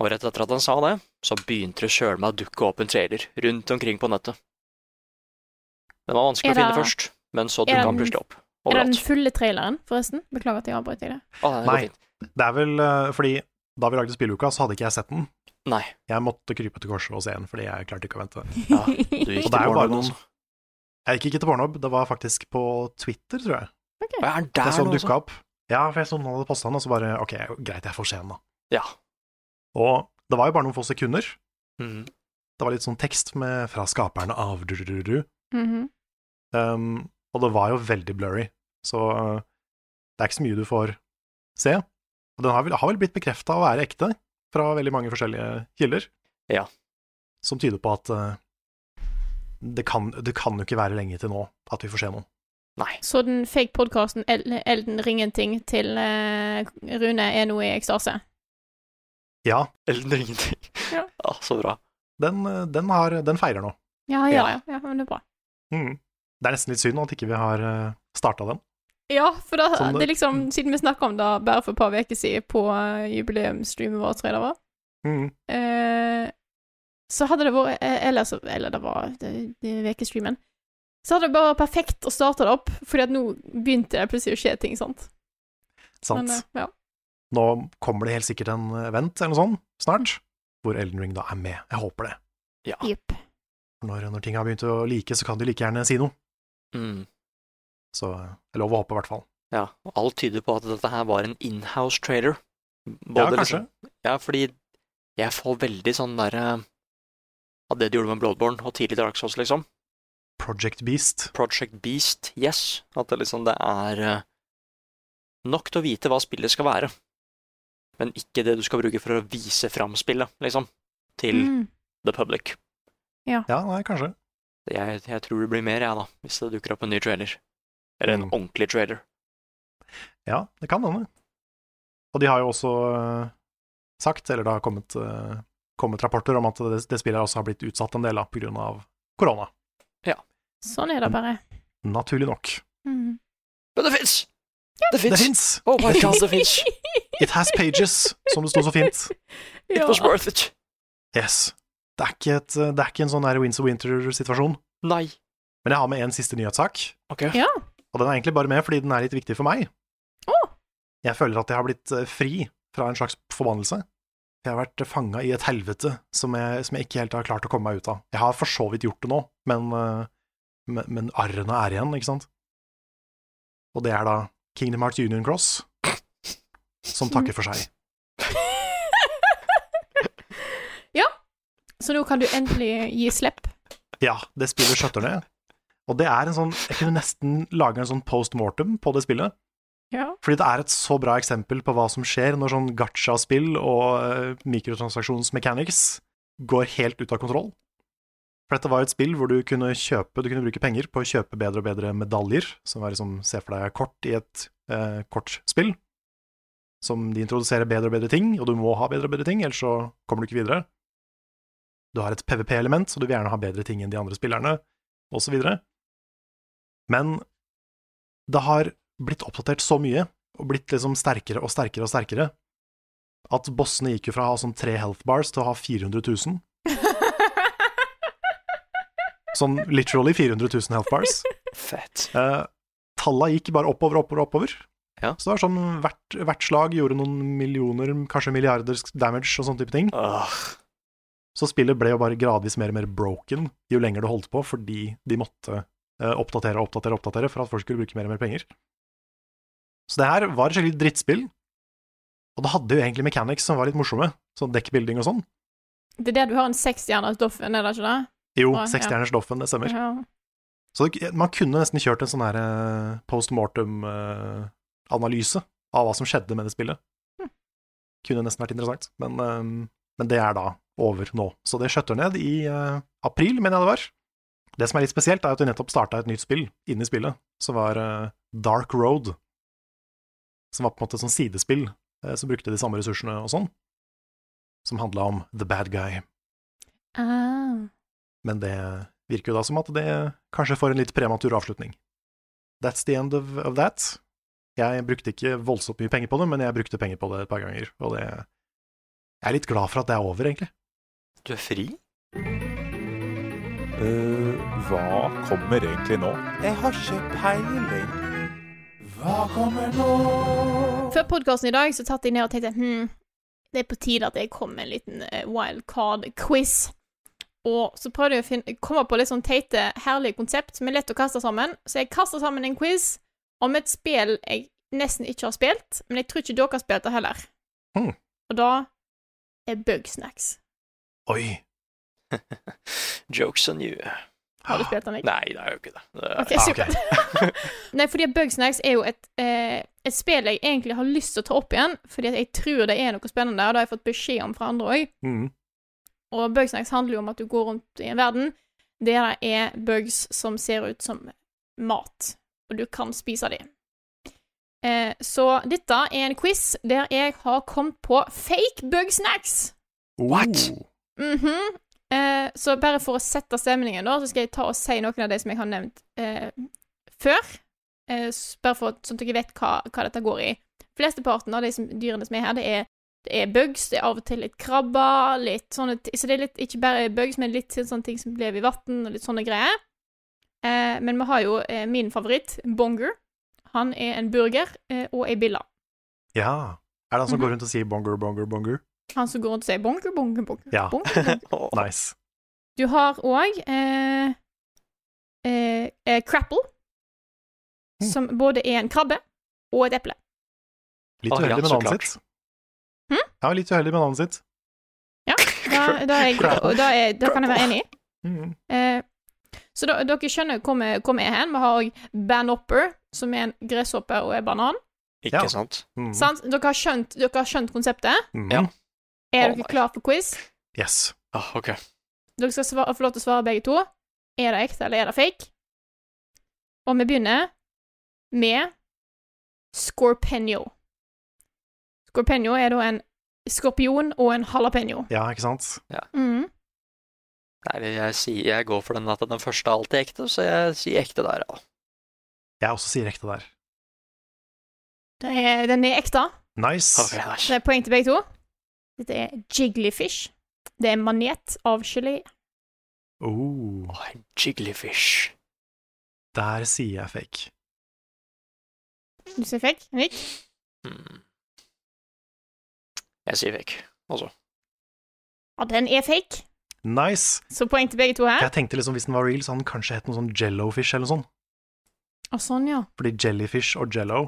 og rett etter at han sa det, så begynte det sjøl meg å dukke opp en trailer rundt omkring på nettet. Den var vanskelig Er å finne det- først, men er så dukka den den- plutselig opp. Er det Overalt. den fulle traileren, forresten? Beklager at jeg avbrøt deg det. Å, nei, det går Nei. fint. Det er vel eh, fordi da vi lagde spilluka, så hadde ikke jeg sett den. Nei. Jeg måtte krype til korset og se den, fordi jeg klarte ikke å vente. Ja, du gikk Og det er jo til bare morgenen, noen- altså. Jeg gikk ikke til Pornhub, det var faktisk på Twitter, tror jeg. Og jeg Det er er der sånn nå altså? også. dukka opp. Ja, for jeg så noen hadde posta den, og så bare Ok, greit, jeg får se den, da. Ja. Og det var jo bare noen få sekunder. Mhm. Det var litt sånn tekst med, fra skaperne av du-du-du-du. Mhm. Um, og det var jo veldig blurry, så uh, det er ikke så mye du får se. Og den har vel, har vel blitt bekrefta å være ekte fra veldig mange forskjellige kilder. Ja. Som tyder på at uh, det, kan, det kan jo ikke være lenge til nå at vi får se noe. Nei. Så den fake podkasten Elden Ringenting til eh, Rune er nå i ekstase. Ja, Eller ingenting. Ja. Ja, så bra. den, uh, den, har, den feirer nå. Ja, ja, ja. ja men det er bra. Mm. Det er nesten litt synd at ikke vi har uh, starta den. Ja, for da, Sånn, det er liksom, siden vi snakka om det bare for et par uker siden på eh, jubileumsstreamet vårt, tror jeg det var, Mm. eh, så hadde det vært eh, Eller, så, eller det var det- det er ukestreamen. Så hadde det bare vært perfekt å starte det opp, fordi at nå begynte det plutselig å skje ting, sant. Sant. Men, eh, ja. Nå kommer det helt sikkert en event eller noe sånt snart, hvor Elden Ring da er med. Jeg håper det. Jepp. Når, når ting har begynt å like, så kan de like gjerne si noe. Mm. Så eh, det er lov å håpe, i hvert fall. Ja. Og alt tyder på at dette her var en inhouse trailer. Ja, Både kanskje. liksom- Ja, fordi jeg får veldig sånn derre Av det de gjorde med Bloodborne og tidlig Dark Souls, liksom. Project Beast. Project Beast, yes. At det liksom det er eh, nok til å vite hva spillet skal være, men ikke det du skal bruke for å vise fram spillet, liksom, til Mm. the public. Ja, nei, kanskje. Jeg, jeg tror det blir mer, jeg, da, hvis det dukker opp en ny trailer. Eller en Mm. ordentlig trailer. Ja, det kan hende. Og de har jo også eh, sagt, eller det har kommet, eh, kommet rapporter om at det, det spillet også har blitt utsatt en del da, på grunn av korona. Sånn er det bare. Naturlig nok. Mm. Men det fins! Det Det fins! fins! Oh my god, det fins! It has pages, som det sto så fint. It Ja. was worth it. Yes. Det er ikke, et, det er ikke en sånn der Winds of Winter-situasjon. Nei. Men jeg har med en siste nyhetssak, Ok. Ja. og den er egentlig bare med fordi den er litt viktig for meg. Å. Jeg føler at jeg har blitt eh, fri fra en slags forbannelse. Jeg har vært fanga i et helvete som jeg, som jeg ikke helt har klart å komme meg ut av. Jeg har for så vidt gjort det nå, men, eh, men, men arrene er igjen, ikke sant? Og det er da Kingdom Hearts Union Cross som takker for seg. Så nå kan du endelig gi slipp. Ja, det spillet skjøtter ned. Og det er en sånn Jeg kunne nesten lage en sånn post mortem på det spillet. Ja. Fordi det er et så bra eksempel på hva som skjer når sånn gacha-spill og eh, mikrotransaksjonsmechanics går helt ut av kontroll. For dette var jo et spill hvor du kunne kjøpe, du kunne bruke penger på å kjøpe bedre og bedre medaljer, som er liksom se for deg kort i et eh, kortspill, som de introduserer bedre og bedre ting, og du må ha bedre og bedre ting, ellers så kommer du ikke videre. Du har et PVP-element, så du vil gjerne ha bedre ting enn de andre spillerne, osv. Men det har blitt oppdatert så mye, og blitt liksom sterkere og sterkere og sterkere, at bossene gikk jo fra å ha sånn tre health bars til å ha 400 000. Sånn literally 400 000 health bars. Fett. Eh, talla gikk bare oppover, oppover, oppover. Ja. Så det var sånn hvert, hvert slag gjorde noen millioner, kanskje milliarder damage og sånne type ting. Åh. Så spillet ble jo bare gradvis mer og mer broken jo lenger det holdt på, fordi de måtte eh, oppdatere og oppdatere og oppdatere for at folk skulle bruke mer og mer penger. Så det her var et skikkelig drittspill, og det hadde jo egentlig mechanics som var litt morsomme, sånn dekkbuilding og sånn. Det er der du har en seksstjerners Doffen, er det ikke det? Jo, Å, ja. seksstjerners Doffen, det stemmer. Ja. Så det, man kunne nesten kjørt en sånn her eh, post mortem-analyse av hva som skjedde med det spillet. Hm. Kunne nesten vært interessant, men, eh, men det er da over nå. Så det skjøtter ned i eh, april, mener jeg det var. Det som er litt spesielt, er at de nettopp starta et nytt spill inne i spillet, som var eh, Dark Road. Som var på en måte et sånt sidespill, eh, som brukte de samme ressursene og sånn. Som handla om The Bad Guy. Ah. Men det virker jo da som at det kanskje får en litt prematur avslutning. That's the end of, of that. Jeg brukte ikke voldsomt mye penger på det, men jeg brukte penger på det et par ganger, og det Jeg er litt glad for at det er over, egentlig. Du er fri? Eh, hva kommer egentlig nå? Jeg har ikke peiling. Hva kommer nå? Før podkasten i dag så tatt jeg ned hmm, og tenkte hm, det er på tide at jeg kom med en liten eh, wildcard-quiz. Og så prøvde jeg å finne, komme på litt sånn teite, herlige konsept som er lett å kaste sammen. Så jeg kasta sammen en quiz om et spill jeg nesten ikke har spilt, men jeg tror ikke dere har spilt det heller. Hmm. Og da er Bugsnacks. Oi. Jokes on you. Har du spilt den? Nick? Nei, det er jo ikke det. det Ok, Ah, supert. Nei, fordi at Bugsnacks er jo et, eh, et spill jeg egentlig har lyst til å ta opp igjen, fordi at jeg tror det er noe spennende, og det har jeg fått beskjed om fra andre òg. Mm. Og Bugsnacks handler jo om at du går rundt i en verden der det er bugs som ser ut som mat, og du kan spise dem. Eh, så dette er en quiz der jeg har kommet på fake bugsnacks. What? Oh. Mhm. eh, så bare for å sette stemningen, da, så skal jeg ta og si noen av de som jeg har nevnt eh, før. Eh, s- bare for, sånn at dere vet hva, hva dette går i. Flesteparten av de som, dyrene som er her, det er det er bugs, det er av og til litt krabber, litt sånne t- Så det er litt, ikke bare bugs, men litt sånn, sånne ting som lever i vann, og litt sånne greier. Eh, men vi har jo eh, min favoritt, Bonger. Han er en burger eh, og ei bille. Ja. Er det han som Mhm. går rundt og sier bonger, bonger, bonger? Han som går rundt og sier bonger, bonger, bonger. Ja. bonger, bonger. Åh, Nice. Du har òg eh, eh, eh, Crapple, Mm. som både er en krabbe og et eple. Litt Å, ja, uheldig med så navnet klart. sitt. Hm? Ja, litt uheldig med navnet sitt. Da, da, er jeg, Crapple. da, er, da kan jeg være enig. Mm. Eh, så da, dere skjønner hvor vi, hvor vi er hen. Vi har òg Banhopper, som er en gresshoppe og en banan. Ikke Ja. sant? Mm. Sant? Dere, har skjønt, dere har skjønt konseptet? Mm. Ja. Er Å, nei. dere klare for quiz? Yes. Ah, ok. Dere skal svare, få lov til å svare begge to. Er det ekte, eller er det fake? Og vi begynner med Scorpenio. Scorpenio er da en skorpion og en jalapeño. Ja, ikke sant? Mm. Nei, jeg, sier, jeg går for den at den første alltid er ekte, så jeg sier ekte der, ja. Jeg også sier ekte der. Det er- Den er ekte. Nice. Ok, Så nice. det er poeng til begge to. Dette er jigglyfish. Det er en manet av gelé. Oh, Åh, en jigglyfish. der sier jeg fake. Du ser fikk, Nick? Hmm. Jeg sier fake, altså. Ja, den er fake. Nice. Så poeng til begge to her. Jeg tenkte liksom hvis den var real, så hadde den kanskje hett noe sånn jellofish eller noe sånt. Å, sånn, ja. Fordi jellyfish og jello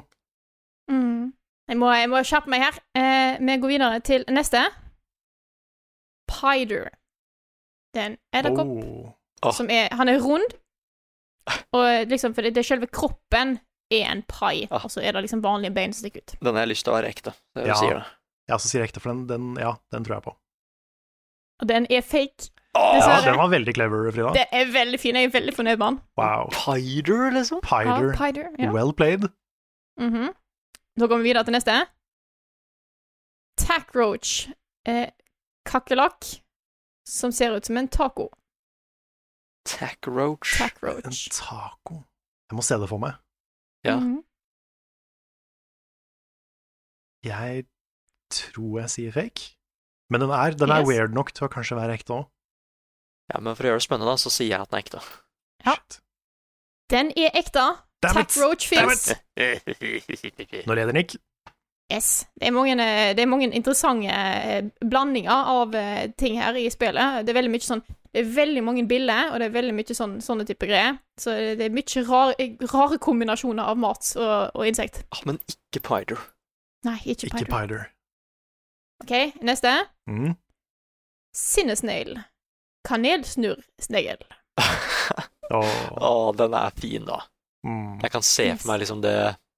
Mm. Jeg, må, jeg må skjerpe meg her. Eh, vi går videre til neste. Pider. Det er en edderkopp oh. Åh. som er Han er rund, og liksom, for det, det er selve kroppen er en pai, Ah. og så er det liksom vanlige bein som stikker ut. Den har jeg lyst til å være ekte. Det Ja. sier det. Jeg også sier ekte, for den, den, ja, den tror jeg på. Og den er fake. Ja, Dessverre. den var veldig clever, Frida. Det er veldig fin. Jeg er veldig fornøyd med den. Wow. Pider, liksom? Ja, Pider. Pider, ja. Well played. Mhm. Da går vi videre til neste. Tackroach. Eh, Kakerlakk som ser ut som en taco. Tack roach. En Tackroach. taco. Jeg må se det for meg. Ja. Mhm. Jeg tror jeg sier fake. Men den er, den er Yes. weird nok til å kanskje være ekte òg. Ja, men for å gjøre det spennende, da, så sier jeg at den er ekte. Ja. Den er ekte. Tackroach fins. Nå leder Nick. Yes. Det er mange, eh, det er mange interessante eh, blandinger av eh, ting her i spillet. Det er veldig mye sånn det er veldig mange bilder, og det er veldig mye sånn, sånne type greier. Så det er mye rar, eh, rare kombinasjoner av mat og, og insekt. Ah, men ikke pider. Nei, ikke Ikke pider. Pider. OK, neste. Mm. Sinnesnegl. Kanelsnurrsnegl. Åh. Å, den er fin, da. Mm. Jeg kan se for Yes. meg liksom det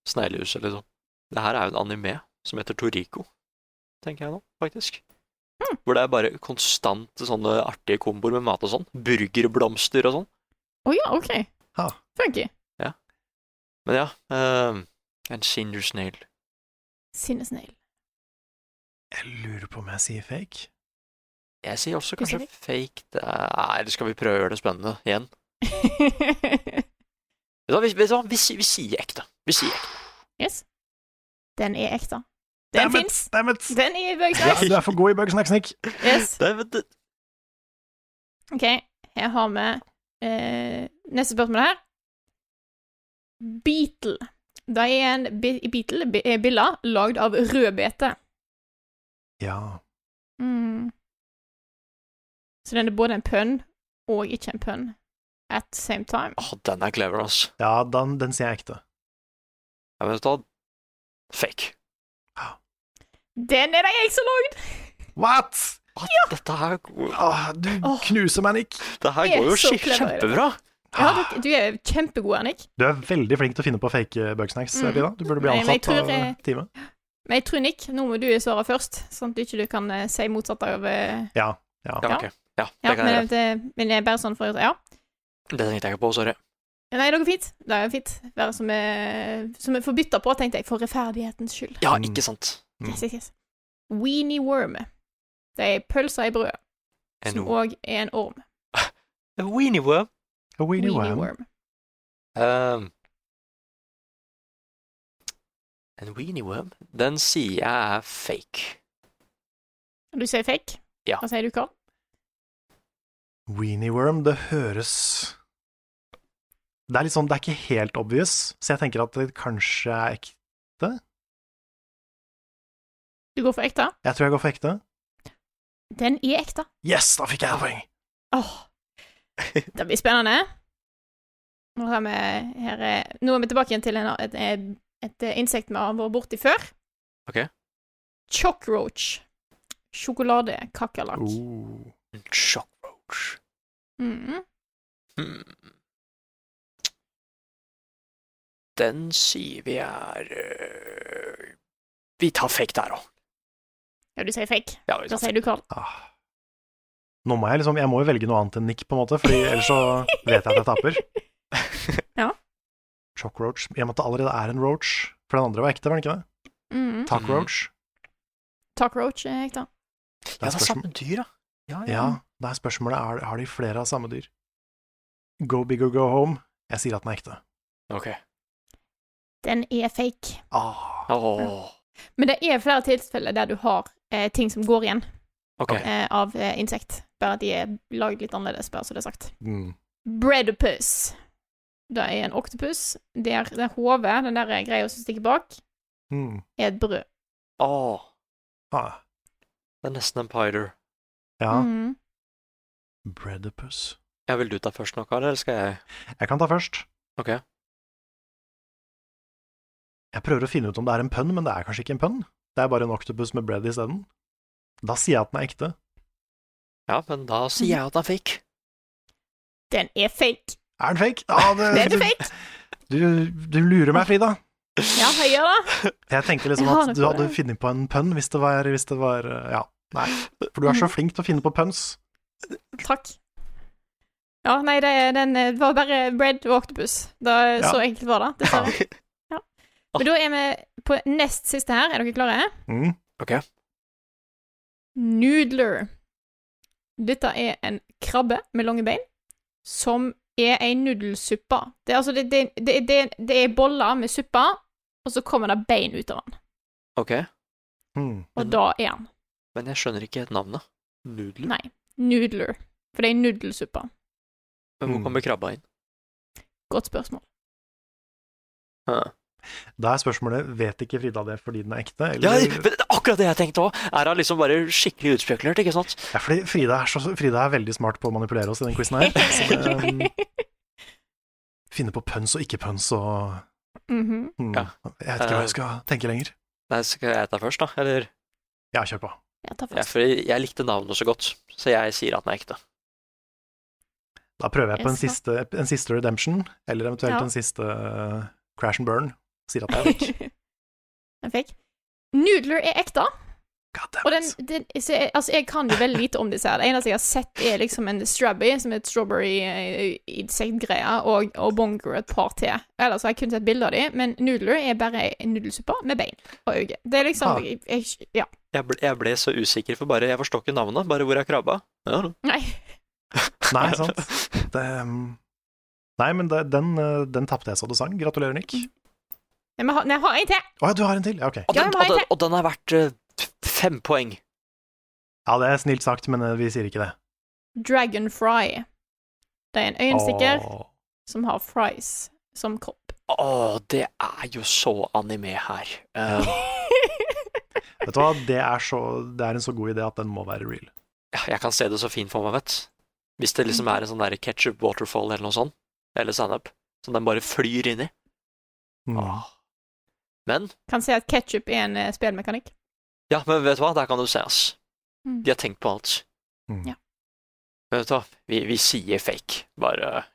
sneglehuset, liksom. Det her er jo en anime som heter Toriko, tenker jeg nå, faktisk. Hmm. Hvor det er bare konstant sånne artige komboer med mat og sånn. Burgerblomster og sånn. Å ja, OK. Ha. Funky. Men ja, eh, en ginger snail. Sinnesnegl. Jeg lurer på om jeg sier fake. Jeg sier også Du kanskje sier fake. Det er, nei, det skal vi prøve å gjøre det spennende igjen? Vet du hva, Vi, vet du hva, vi, sier- vi sier ekte. Vi sier ekte. yes. Den er ekte. Den Dammit, fins. dammit. Den er i Ja, Bugsnax. du er for god i Bugsnax, Nick. Yes. Det, det, OK, her har vi eh, neste spørsmål her. Beetle. Det er en bi beetle, bi eh, billa, lagd av rødbete. Ja. Mm. Så den er både en pønn og ikke en pønn at same time. Åh, den er clever, ass. Ja, den, den ser jeg ekte. Jeg vet da Fake. Den er det jeg som lagde! What?! Hva? Ah, Dette her, går- Åh, du Åh. knuser meg, Nick. Ah. det her Jeg er går jo så skik- clever i det. kjempebra. Ja, Ah. du, du er kjempegod, Annik. Du er veldig flink til å finne på fake eh, bugsnacks, Mm. Vida. Du burde bli Nei, men jeg ansatt av tror jeg- teamet. Men jeg tror, Nick, nå må du svare først, sånn at du ikke du kan eh, si motsatt av eh, Ja. ja. Ja, Ja. ok. Ja, Ja, det kan jeg men, det, men det er bare sånn for å Ja. gjøre. Det tenkte jeg ikke på, sorry. Nei, det går fint. Det er fint. Være som er, som er forbytta på, tenkte jeg, for rettferdighetens skyld. Ja, Mm. ikke sant. Yes, yes, yes. Weenie worm. Det er pølser i brødet, En som òg er en orm. weenie worm. A weenie worm. Um, en weenie worm, den sier jeg er fake. Du sier fake. Ja. Hva sier du, Karl? Weenie worm, det høres Det er litt sånn, det er ikke helt obvious, så jeg tenker at det kanskje er ekte. Du går for ekte? Jeg tror jeg går for ekte. Den er ekte. Yes, da fikk jeg et poeng! Åh. Det blir spennende. Nå er vi, her er, nå er vi tilbake igjen til en, et, et, et eh, insekt vi har vært borti før. Ok. Chokroach. Sjokoladekakerlakk. Oh. En Cockroach. Mm. Hmm. Den sier vi er øh, Vi tar fake der òg. Ja, du sier fake. Ja, vi Da tar sier fake. du Karl. Ah. Nå må jeg liksom Jeg må jo velge noe annet enn Nick, på en måte, Fordi ellers så vet jeg at jeg taper. Ja. Chockroach. I og med at det allerede er en roach, for den andre var ekte, var den ikke det? Mm. Tuckroach. Cockroach eh, er ekte. Det er Ja, det er spørsmål- samme dyr, da. Ja, ja. Ja, da er spørsmålet er, har de flere av samme dyr. Go big or go home. Jeg sier at den er ekte. Ok. Den er fake. Ah. Åh, Men det er flere tilfeller der du har eh, ting som går igjen ok. eh, av eh, insekt. Bare at de er lagd litt annerledes, bare så det er sagt. Mm. Breadopus. Det er en oktopus. Der, der hodet, den der eh, greia som stikker bak, Mm. er et brød. Åh, Ah. det er nesten en pider. Ja, Mm. breadipus. Ja, vil du ta først noe av det, eller skal jeg Jeg kan ta først. Ok. Jeg prøver å finne ut om det er en pønn, men det er kanskje ikke en pønn. Det er bare en octopus med bread isteden. Da sier jeg at den er ekte. Ja, men Mhm. da sier jeg at den er fake. Den er fake. Er den fake? Ah, Den er fake! Du, du lurer meg, Frida. Ja, jeg gjør det. Jeg tenkte liksom Jeg har at det du for hadde deg. funnet på en pønn hvis det var, hvis det var eh, Ja. Nei. For du er Mm. så flink til å finne på pønns. Takk. Ja, nei, det, den eh, var bare bread og oktopus. Da, eh, Ja. Så enkelt var det, Ah, dessverre. Ja. Men da er vi på nest siste her. Er dere klare? Mm. Noodler. Dette er en krabbe med lange bein, som er ei nudelsuppe. Det er altså det, det, det, det, det er boller med suppe, og så kommer det bein ut av den. Ok, Mm. Og Men- da er han men jeg skjønner ikke navnet. Nudler? Nei. Noodler. For det er nudelsuppe. Men hvor Mm. kommer krabba inn? Godt spørsmål. Hæ. Da er spørsmålet vet ikke Frida det fordi den er ekte, Ja, eller men det er akkurat det jeg tenkte òg! Er han liksom bare skikkelig utspekulert, ikke sant? ja, fordi Frida er, så, Frida er veldig smart på å manipulere oss i den quizen her. Så det, um, finne på pønns og ikke pønns og Mhm. hmm, Ja. Eh. Jeg vet ikke hva jeg skal tenke lenger. Nei, skal jeg ta først, da? Eller? Ja, kjør på. Jeg tar Ja, først. for jeg likte navnet så godt, så jeg sier at den er ekte. Da prøver jeg på en Jeg siste, en siste redemption, eller eventuelt Ja. en siste uh, crash and burn. Sier at det er vekk. Den fikk. Noodler er ekte. God damn Og den, it. den så jeg, Altså, jeg kan jo veldig lite om disse her. Det eneste jeg har sett, er liksom en strawberry, som er et strawberry-insektgreie, og, og bonger et par til. Ellers har jeg kun sett bilder av dem, men noodler er bare en nudelsuppe med bein og øyne. Det er liksom Ah. jeg, jeg, Ja. Jeg ble, jeg ble så usikker, for bare jeg forstår ikke navnet, bare hvor er krabba? Ja, da. Nei. Nei, sant. Det, um, nei, men det, den, uh, den tapte jeg så det sang. Gratulerer, Nick. Mm. Å Nei, men ha- nei, jeg har en til! ja, du har en til? Ja, ok. Og, Ja, den, men har og, jeg den, og den er verdt eh, f- fem poeng. Ja, det er snilt sagt, men uh, vi sier ikke det. Dragonfry. Det er en øyenstikker Åh. som har fries som kropp. Å, det er jo så anime her. Eh, Vet du hva, det er, så, det er en så god idé at den må være real. Ja, jeg kan se det så fint for meg, vet du. Hvis det liksom er en sånn der ketchup waterfall eller noe sånt, eller sennep, som den bare flyr inn i. Mm. Men Kan si at ketsjup er en eh, spillmekanikk. ja, men vet du hva, der kan du se, ass. Mm. De har tenkt på alt. Mm. Ja. Men vet du hva, vi, vi sier fake. Bare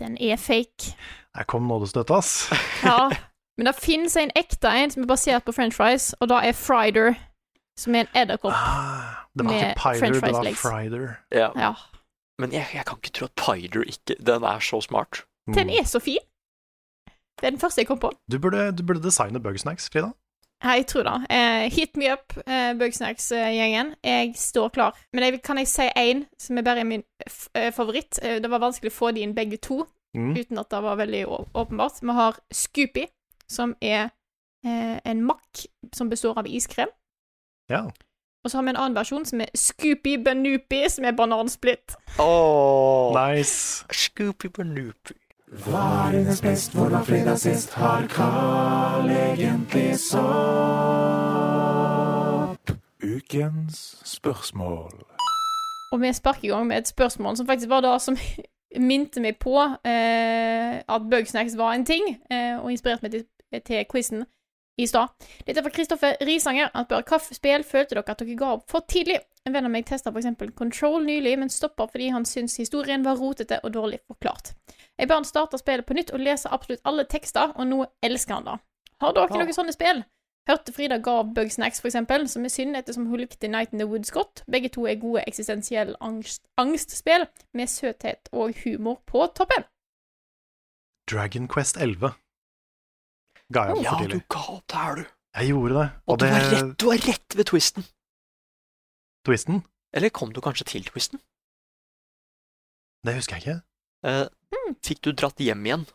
Den er fake. Der kom nådestøtet, ass. Ja. Men det fins en ekte en som er basert på french fries, og da er Frider, som er en edderkopp. Ah, det var Med ikke Pider, french det fries var legs. Frider. Ja. Ja. Men jeg, jeg kan ikke tro at Pider ikke Den er så smart. Mm. Den er så fin! Det er den første jeg kom på. Du, burde, du burde designe Bugsnacks, Frida. Ja, Jeg tror det. Eh, hit me up, eh, Bugsnacks-gjengen. Jeg står klar. Men jeg, kan jeg si én som er bare min f eh, favoritt? Eh, det var vanskelig å få de inn begge to, Mm. uten at det var veldig å- åpenbart. Vi har Scoopy, som er eh, en makk som består av iskrem. Ja. Og så har vi en annen versjon som er Scoopy Banoopy, som er banansplitt. Oh, Nice. Scoopy Bernoopy. Ukens spørsmål. Og vi sparker i gang med et spørsmål som faktisk var det som minte meg på eh, at Bugsnacks var en ting, eh, og inspirerte meg til, til quizen i stad. Dette er fra Kristoffer Risanger. Han spør kaffespill følte dere at dere ga opp for tidlig. En venn av meg testa f.eks. Control nylig, men stoppa fordi han syntes historien var rotete og dårlig forklart. Jeg ba han starte spillet på nytt og lese absolutt alle tekster, og nå elsker han det. Har dere noen sånne spill? Hørte Frida ga opp Bugsnacks, for eksempel, som er synd ettersom hun likte Night in the Woods godt. Begge to er gode eksistensiell angst, angstspill med søthet og humor på toppen. Dragon Quest 11. Ga jeg opp Ja, for du tidlig. ga opp det her, du. Jeg gjorde det. Og du var rett, du var rett ved twisten. twisten, Eller kom du kanskje til twisten? det husker jeg ikke. Eh, fikk du dratt hjem igjen?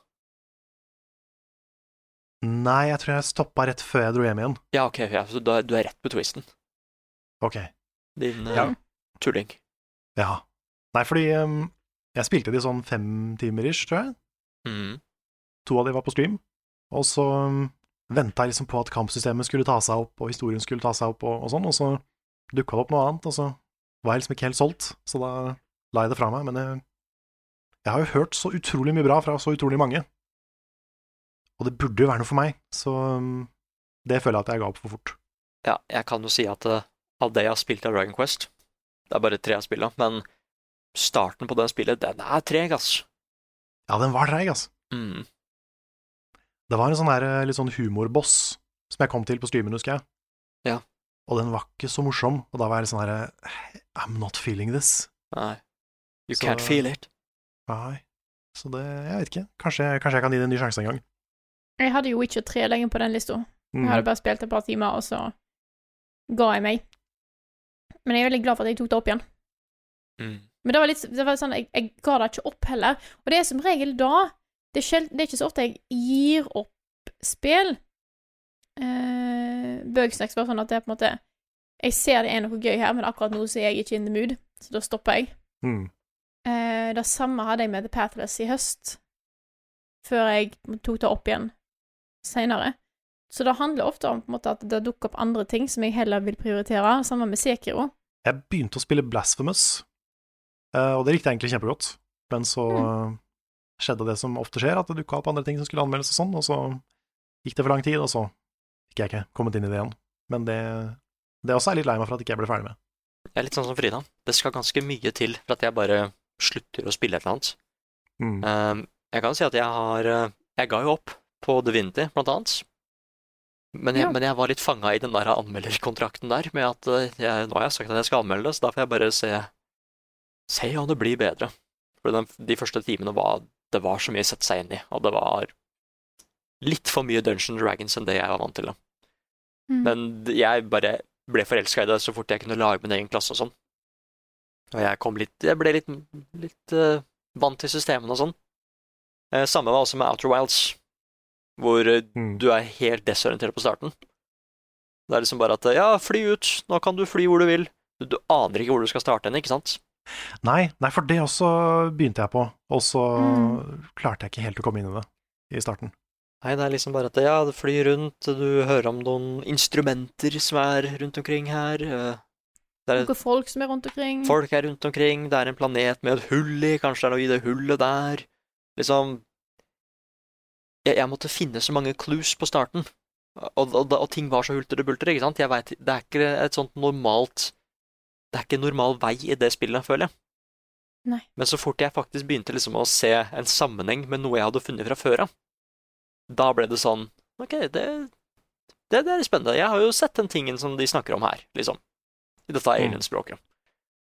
Nei, jeg tror jeg stoppa rett før jeg dro hjem igjen. Ja, ok, ja, så du er, du er rett ved twisten, Ok, din eh, Ja. tulling. ja. Nei, fordi ehm, jeg spilte de sånn fem timer ish, tror jeg. Mm. To av de var på stream. Og så um, venta jeg liksom på at kampsystemet skulle ta seg opp, og historien skulle ta seg opp, og, og sånn, og så dukka det opp noe annet, og så var jeg liksom ikke helt solgt, så da la jeg det fra meg. Men jeg, jeg har jo hørt så utrolig mye bra fra så utrolig mange, og det burde jo være noe for meg, så um, det føler jeg at jeg ga opp for fort. Ja, jeg kan jo si at eh, av det jeg har spilt av Dragon Quest Det er bare tre jeg har spilt av, men starten på det spillet, den er treg, ass. Ja, den var treig, altså. Mm. Det var en sånn her, eh, litt sånn humorboss som jeg kom til på streamen, husker jeg. Ja. Og den var ikke så morsom, og da var jeg litt sånn her eh, I'm not feeling this. Nei. You Så- can't feel it. Nei. Så det Jeg vet ikke. Kanskje, kanskje jeg kan gi det en ny sjanse en gang. Jeg hadde jo Witcher 3 lenge på den lista. Jeg Mm. hadde bare spilt et par timer, og så ga jeg meg. Men jeg er veldig glad for at jeg tok det opp igjen. Mm. Men det var litt det var sånn, jeg, jeg ga det ikke opp heller. Og det er som regel da Det er, sjel- det er ikke så ofte jeg gir opp spill. Eh, Bugsnacks var sånn at det er på en måte Jeg ser det er noe gøy her, men akkurat nå så er jeg ikke in the mood, så da stopper jeg. Mm. Eh, det samme hadde jeg med The Pathless i høst, før jeg tok det opp igjen seinere. Så det handler ofte om på en måte, at det dukker opp andre ting som jeg heller vil prioritere. Samme med Sekiro. Jeg begynte å spille Blasphemous, eh, og det likte jeg egentlig kjempegodt. Men så eh, skjedde det som ofte skjer, at det dukka opp andre ting som skulle anmeldes og sånn, og så gikk det for lang tid, og så fikk jeg ikke kommet inn i det igjen. Men det, det også er jeg litt lei meg for at ikke jeg ble ferdig med. Jeg er litt sånn som Frida. Det skal ganske mye til for at jeg bare slutter å spille et eller annet. Mm. Ehm, jeg kan si at jeg har eh, Jeg ga jo opp på Divinity, blant annet. Men jeg, Ja. men jeg var litt fanga i den der anmelderkontrakten der med at eh, jeg, nå har jeg sagt at jeg skal anmelde det, så da får jeg bare se Se om det blir bedre. For den, de første timene var Det var så mye å sette seg inn i, og det var litt for mye Dungeons Dragons enn det jeg var vant til. da. Men jeg bare ble forelska i det så fort jeg kunne lage min egen klasse og sånn. Og jeg kom litt Jeg ble litt, litt eh, vant til systemene og sånn. Eh, samme var også med Outer Wilds, hvor eh, Mm. du er helt desorientert på starten. Det er liksom bare at eh, Ja, fly ut! Nå kan du fly hvor du vil. Du, du aner ikke hvor du skal starte hen, ikke sant? Nei, nei, for det også begynte jeg på, og så Mm. klarte jeg ikke helt å komme inn i det i starten. Nei, det er liksom bare at ja, det flyr rundt, du hører om noen instrumenter som er rundt omkring her. eh, Det er Noen folk som er rundt omkring. folk er rundt omkring, det er en planet med et hull i, kanskje det er noe i det hullet der. Liksom Jeg, jeg måtte finne så mange clues på starten, og, og, og ting var så hulter og bulter, ikke sant? Jeg vet, det er ikke et sånt normalt Det er ikke en normal vei i det spillet, føler jeg. Nei. Men så fort jeg faktisk begynte liksom å se en sammenheng med noe jeg hadde funnet fra før av, da ble det sånn Ok, det, det, det er spennende. Jeg har jo sett den tingen som de snakker om her, liksom. I dette Mm. alienspråket.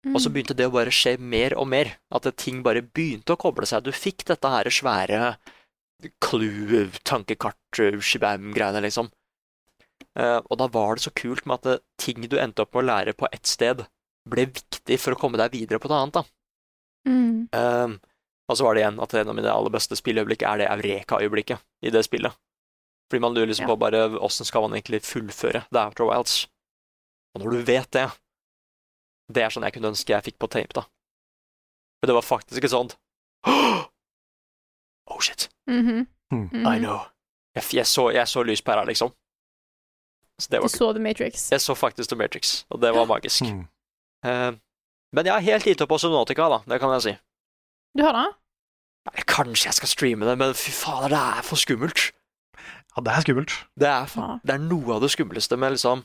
Mm. Og så begynte det å bare skje mer og mer. At det- ting bare begynte å koble seg. Du fikk dette her svære clue-tankekart-shibam-greiene, liksom. Eh, og da var det så kult med at det, ting du endte opp med å lære på ett sted, ble viktig for å komme deg videre på noe annet, da. mm. Ehm, og så var det igjen at en av mine aller beste spilleøyeblikk er det eureka-øyeblikket i det spillet. Fordi man lurer liksom Ja. på bare åssen skal man egentlig fullføre The Outer Wilds. Og når du vet det, det er sånn jeg kunne ønske jeg fikk på tape, da. For det var faktisk et sånt Oh shit, Mhm. Mm. Mhm. Hmm. I know. Jeg, f- jeg, så, jeg så lys pæra, liksom. Så det Du var kult. så The Matrix. Jeg så faktisk The Matrix, og det var magisk. Mm. Eh, men jeg har helt gitt opp på Subnotica, da. Det kan jeg si. Du har det? Nei, Kanskje jeg skal streame det, men fy fader, det er for skummelt. Ja, det er skummelt. Det er, fa- Ja. det er noe av det skumleste med liksom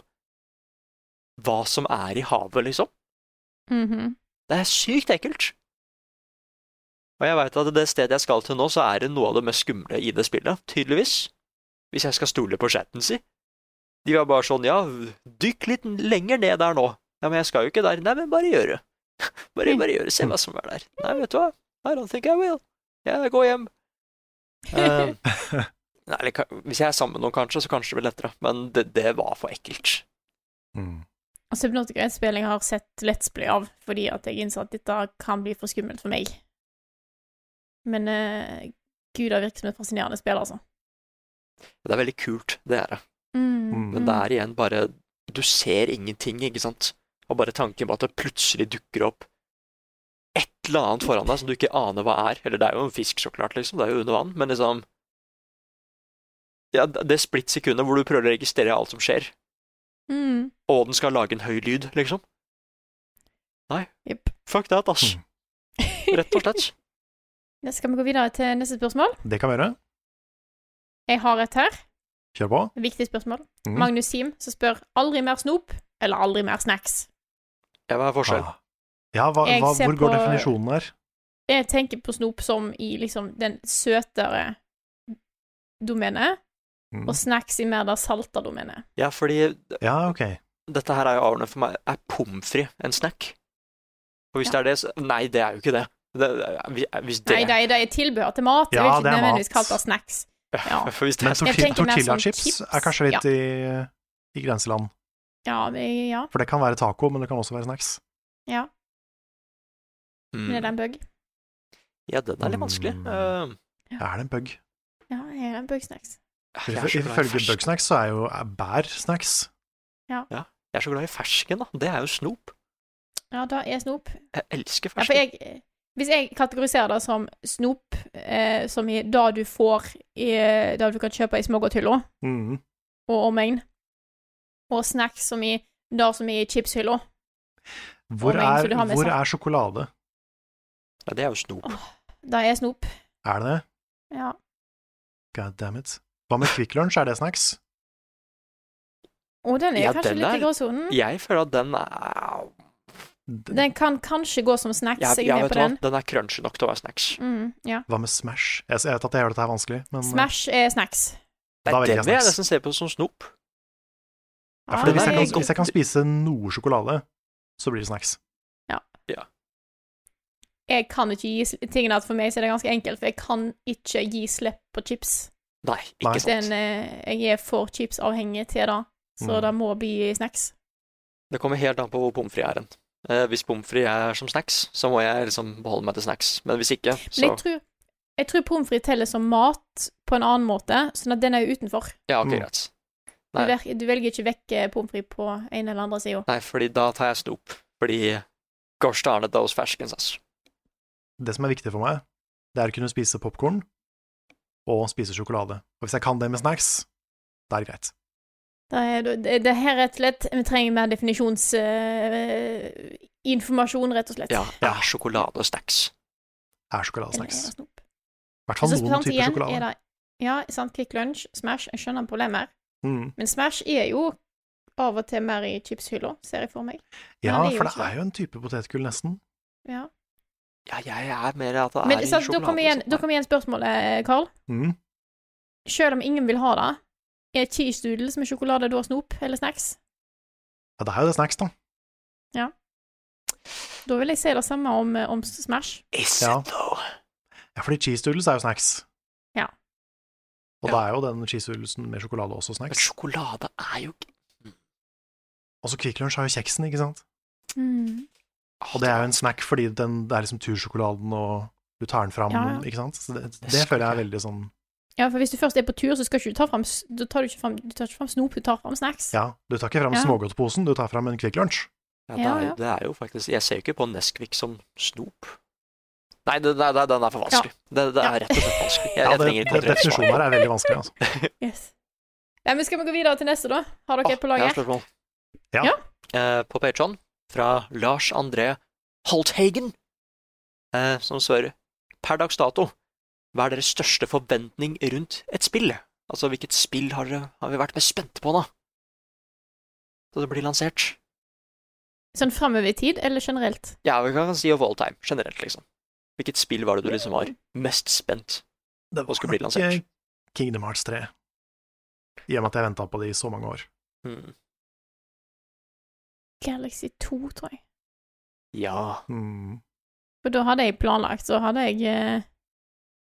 hva som er i havet, liksom. Mhm. Det er sykt ekkelt. Og jeg veit at det stedet jeg skal til nå, så er det noe av det mest skumle i det spillet, tydeligvis. Hvis jeg skal stole på chatten si. De var bare sånn, ja, dykk litt lenger ned der nå. Ja, men jeg skal jo ikke der. Nei, men bare gjøre. Bare, bare gjøre, se hva som er der. Nei, vet du hva, I don't think I will. Jeg går hjem. Eh, nei, eller, ka- hvis jeg er sammen med noen, kanskje, så kanskje det blir lettere. Men det, det var for ekkelt. Mm. Og Subnautica er et spill jeg har sett Let's Play av, fordi at jeg innså at dette kan bli for skummelt for meg. Men eh, gud, det virker som et fascinerende spill, altså. Det er veldig kult, det er det. Mm. Men det er igjen bare Du ser ingenting, ikke sant? Og bare tanken på at det plutselig dukker opp et eller annet foran deg som du ikke aner hva er. Eller det er jo en fisk, så klart, liksom. Det er jo under vann. Men liksom Ja, det splittsekundet hvor du prøver å registrere alt som skjer, Mm. og den skal lage en høy lyd, liksom. Nei. Jepp. Fuck that, ass. Rett og slett. Ja, Skal vi gå videre til neste spørsmål? Det kan vi gjøre. Jeg har et her. Kjør på. Viktig spørsmål. Mhm. Mm. Magnus Sim som spør aldri mer snop eller aldri mer snacks. Ja, hva er forskjellen? Ah. Ja, hva, Jeg hva, ser hvor går på- definisjonen her? Jeg tenker på snop som i liksom den søtere domenet, Mm. og snacks i mer det salta domenet. Ja, fordi Ja, ok. dette her er jo avgjørende for meg. Er pommes frites en snack? Og hvis det er det, så Nei, det er jo ikke det. det eh, hvis det Nei, de, de er tilbehør til mat. Ja, jeg vil ikke det er mat. nødvendigvis kalt det snacks. Ja. For hvis det Men er Jeg torti tenker mer sånn tortillachips chips. er kanskje litt i, i grenseland. Ja, det, ja. For det kan være taco, men det kan også være snacks. Men er det en bug? Mm. Ja, den er litt vanskelig. Mm. Uh, Er det en bug? Ja, er det en bug-snacks? jeg, er Ifø- så glad i Ifølge fersken. bugsnacks så er jo er bær snacks. jeg er så glad i fersken, da. Det er jo snop. Ja, da er snop. Jeg elsker Ja, for fersken. jeg, hvis jeg kategoriserer det som snop, eh, som i det du får i det du kan kjøpe i smågodthylla Mm. og omegn, og snacks som i det som er i chipshylla Hvor, Og men, så er, du har med hvor snacks. er sjokolade? Ja, det er jo snop. Det er snop. Er det det? Ja. God damn it. Hva med Kvikk Lunsj, er det snacks? Og den er Ja, kanskje den litt er- i gråsonen. Jeg føler at den er D- Den kan kanskje gå som snacks, Jeg, jeg, er jeg med vet på hva, den. den er crunchy nok til å være snacks. Mm, ja. Hva med Smash? Jeg, s- jeg vet at jeg gjør dette her vanskelig, men eh, eh, Smash er snacks. Nei, Da velger jeg den vil jeg snacks. nesten se på som snop. ja, Ja, fordi hvis, den jeg er kan, god. hvis jeg kan spise noe sjokolade, så blir det snacks. jeg kan ikke gi sl- tingene at For meg så er det ganske enkelt, for jeg kan ikke gi slipp på chips. Nei, Nei. ikke sant. Den, eh, jeg er for chipsavhengig til det, så Mm. det må bli snacks. Det kommer helt an på hvor pommes frites er hen. Eh, hvis pommes frites er som snacks, så må jeg liksom beholde meg til snacks. Men hvis ikke, Men så jeg tror, jeg tror pommes frites teller som mat på en annen måte, sånn at den er jo utenfor. Ja, ok, Mm. greit. Du, Nei. ver- du velger ikke vekk eh, pommes frites på en eller andre sida. Nei, fordi da tar jeg snop. Fordi gosh darn it, those ferskens, ass. Det som er viktig for meg, det er å kunne spise popkorn og spise sjokolade. Og hvis jeg kan det med snacks, da er det greit. Det, er, det, det her er rett og slett Vi trenger mer definisjonsinformasjon, rett og slett. Ja, det er sjokolade og snacks. Er Eller sjokoladesnacks. er det snop? I hvert fall Så noen sant typer igjen er sjokolade. det Ja, sant. Kvikk Lunsj, Smash. Jeg skjønner problemet. her. Mm. Men Smash er jo av og til mer i chipshylla, ser jeg for meg. Ja, Men det er jo for det ikke- er jo en type potetgull, nesten. Ja. Ja, jeg er mer at det er Men i sant, da sjokolade. kommer igjen, og sånt. da kommer igjen spørsmålet, Carl. Mm. Selv om ingen vil ha det, er cheese doodles med sjokolade da snop eller snacks? Ja, det er jo det snacks, da. Da vil jeg si det samme om, eh, om Smash. Is Ja. it though? Ja, fordi cheese doodles er jo snacks. Ja. Og Ja. da er jo den cheese doodlesen med sjokolade også Men snacks. sjokolade er jo ikke Også Kvikk Lunsj har jo kjeksen, ikke sant? Mm. Og det er jo en snack fordi den, det er liksom tursjokoladen, og du tar den fram, Ja, ja. ikke sant? Så det, det, skal føler jeg er jeg. veldig sånn Ja, for hvis du først er på tur, så skal ikke du ta fram, s- da tar du ikke fram, du tar ikke fram snop, du tar fram snacks. Ja, du tar ikke fram Ja. smågodtposen, du tar fram en Kvikk Lunsj. Ja, det, er, Ja, ja. det er jo faktisk Jeg ser jo ikke på Nesquik som snop. Nei, det, det, det, den er for vanskelig. Det, det Ja. er rett og slett vanskelig. Jeg, Ja, jeg det, trenger ikke det, kontrere svar. definisjonen her er veldig vanskelig, altså. Yes. Nei, men skal vi gå videre til neste, da? Har dere Åh, et på Jeg har et lager? spørsmål. Ja. Eh, på Patreon fra Lars André Holthagen, eh, som spør per dags dato hva er deres største forventning rundt et spill? Altså hvilket spill har, dere, har vi vært mest spente på da? Så det blir lansert. Sånn framover i tid, eller generelt? Ja, vi kan si of all time, generelt liksom. Hvilket spill var det du liksom var mest spent? Det Og skulle bli nok, lansert. eh, Kingdom Hearts 3. I og med at jeg venta på det i så mange år. Hmm. Galaxy 2, tror jeg. Ja. Mm. For da hadde jeg planlagt, så hadde jeg eh,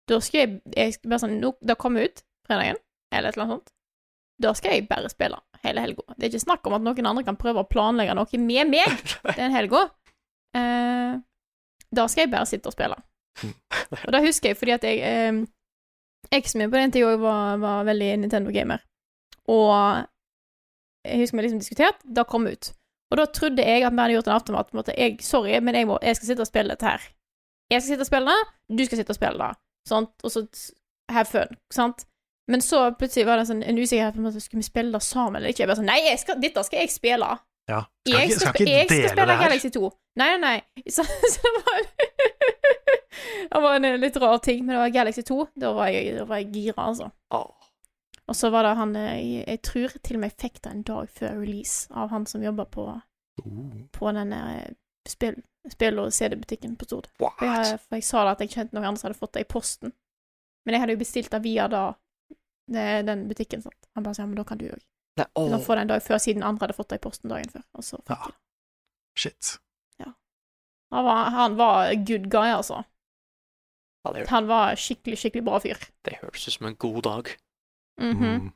Da skal jeg, jeg skal bare sånn nå, Det kommer ut fredagen, eller et eller annet sånt. Da skal jeg bare spille hele helga. Det er ikke snakk om at noen andre kan prøve å planlegge noe med meg den helga. Eh, da skal jeg bare sitte og spille. Og det husker jeg fordi at jeg eh, Eksen min på den tida var, var veldig Nintendo-gamer. Og jeg husker vi liksom diskuterte. Det kom ut. Og da trodde jeg at vi hadde gjort en avtale med at på en måte, jeg, sorry, men jeg, må, jeg skal sitte og spille dette her. Jeg skal sitte og spille det, du skal sitte og spille det. Sant? Og så t- have fun. Sant? Men så plutselig var det sånn, en usikkerhet på en måte, skulle vi spille det sammen eller ikke. Jeg bare sånn, nei, jeg skal, dette skal jeg spille. Ja. Skal Jeg ikke, skal, skal spe- jeg ikke skal dele spille det her. Galaxy 2. Nei, nei, nei. Så, så det var Det var en eh, litt rar ting, men det var Galaxy 2. Da var jeg, da var jeg gira, altså. Åh. Og så var det han eh, Jeg, jeg tror til og med jeg fikk det en dag før release av han som jobba på, Oh. på den eh, spill, spill- og CD-butikken på Stord. What? For jeg, for jeg sa da at jeg kjente noen andre som hadde fått det i posten. Men jeg hadde jo bestilt det via da det- den butikken. Sant? Han bare sa ja, men da kan du òg. Nei, Du kan åh. få det en dag før, siden andre hadde fått det i posten dagen før. Og så fikk Ja. jeg det. Shit. Han var, han var good guy, altså. Ja, det, Han var skikkelig, skikkelig bra fyr. det høres ut som en god dag. Mhm. Mm.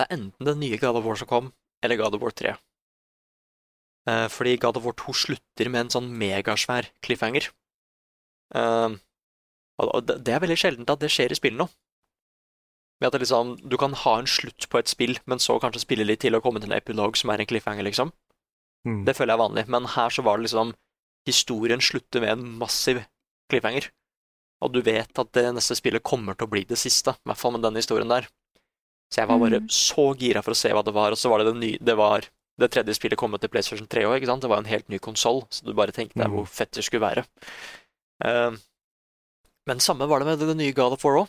Det er enten den nye God of War som kom, eller God of War 3. Eh, fordi God of War 2 slutter med en sånn megasvær cliffhanger. Eh, og og det det er veldig sjeldent at det skjer i spill nå. Med at det liksom, du kan ha en slutt på et spill, men så kanskje spille litt til og komme til en epilog som er en cliffhanger, liksom. Mm. Det føler jeg er vanlig, men her så var det liksom Historien slutter med en massiv cliffhanger. Og du vet at det neste spillet kommer til å bli det siste, i hvert fall med denne historien der. Så jeg var bare Mm. så gira for å se hva det var, og så var det det nye Det var det tredje spillet kom til PlayStation 3 òg, ikke sant? Det var jo en helt ny konsoll, så du bare tenkte deg Mm. hvor fett det skulle være. Eh, men samme var det med det nye God of War òg.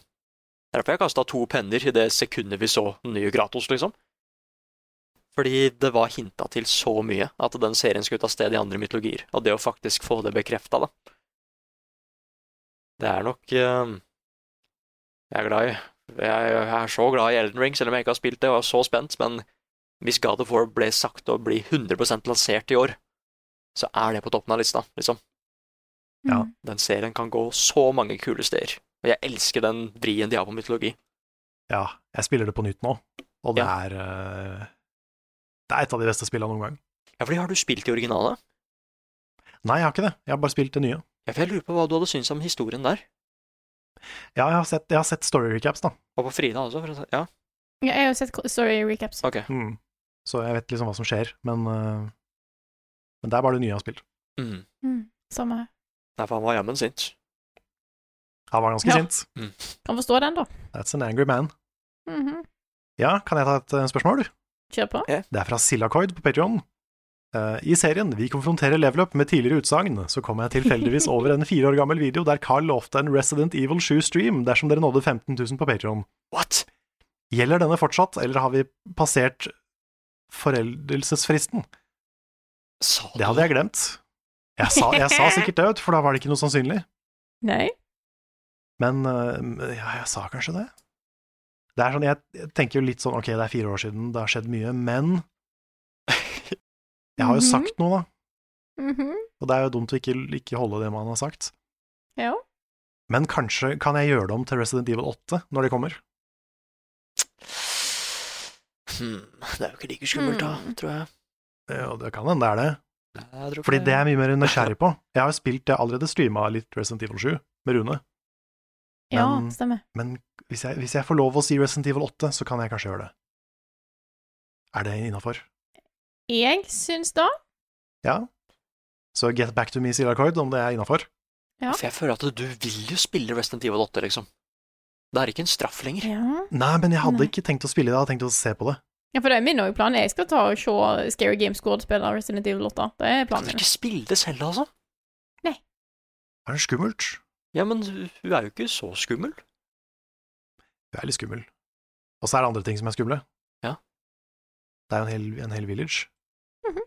Derfor jeg kasta to penner i det sekundet vi så den nye Gratos, liksom. Fordi det var hinta til så mye at den serien skulle ta sted i andre mytologier, og det å faktisk få det bekrefta, da. Det er nok eh, Jeg er glad i jeg, jeg er så glad i Elden Ring, selv om jeg ikke har spilt det, og jeg er så spent, men hvis God of War ble sagt å bli 100 lansert i år, så er det på toppen av lista, liksom. Ja. Mm. Den serien kan gå så mange kule steder, og jeg elsker den vrien de har på mytologi. Ja, jeg spiller det på nytt nå, og det Ja. er eh, Det er et av de beste spillene noen gang. Ja, fordi har du spilt de originale? Nei, jeg har ikke det. Jeg har bare spilt det nye. Ja, for jeg lurer på hva du hadde syntes om historien der, Ja, jeg har sett, jeg har sett story recaps, da. og på Frida også, for å si Ja, Ja, Jeg har jo sett ko- story recaps. ok. Mm. Så jeg vet liksom hva som skjer, men eh, Men det er bare det nye jeg har spilt. Mm. Mm. Samme her. Nei, for han var jammen sint. Han var ganske Ja. sint. Kan forstå den, da. That's an angry man. Mhm. Ja, kan jeg ta et eh, spørsmål? Kjør på. Det er fra Sillakoid på Patreon. Eh, I serien Vi konfronterer Levelup med tidligere utsagn, så kom jeg tilfeldigvis over en fire år gammel video der Carl lovte en Resident Evil 7-stream dersom dere nådde 15 000 på Patreon. What? Gjelder denne fortsatt, eller har vi passert foreldelsesfristen? Sa Det hadde jeg glemt. Jeg sa, jeg sa sikkert det, vet du, for da var det ikke noe sannsynlig. Nei. Men eh, ja, jeg sa kanskje det. Det er sånn, jeg, jeg tenker jo litt sånn, ok, det er fire år siden, det har skjedd mye, men jeg har jo Mhm. sagt noe, da. Mhm. Og det er jo dumt å ikke, ikke holde det man har sagt. Ja. Men kanskje kan jeg gjøre det om til Resident Evil 8 når det kommer? Hmm, det er jo ikke like skummelt, da, Hmm. tror jeg. Eh, Og det kan hende det er det. Nei, Mm. jeg tror ikke Fordi det er jeg mye mer nysgjerrig på. Jeg har jo spilt, jeg har allerede streama litt Resident Evil 7 med Rune. ja, Men- stemmer. Men hvis jeg, hvis jeg får lov å si Resident Evil 8, så kan jeg kanskje gjøre det. Er det innafor? Jeg syns da Ja. Så get back to me, sier Akkord, om det er innafor. Ja. For jeg føler at du vil jo spille Resident Evil 8, liksom. Det er ikke en straff lenger. Ja, Nei, men jeg hadde Nei. ikke tenkt å spille det, jeg hadde tenkt å se på det. ja for det er min også plan. Jeg skal ta og se Scary Game Squad spille Resident Evil 8. Det er Kan planen du min. ikke spille det selv, altså? Er det skummelt? Ja, men hun er jo ikke så skummel. Det er litt skummel. Og så er det andre ting som er skumle. Ja. Det er jo en hel, en hel village. Mhm.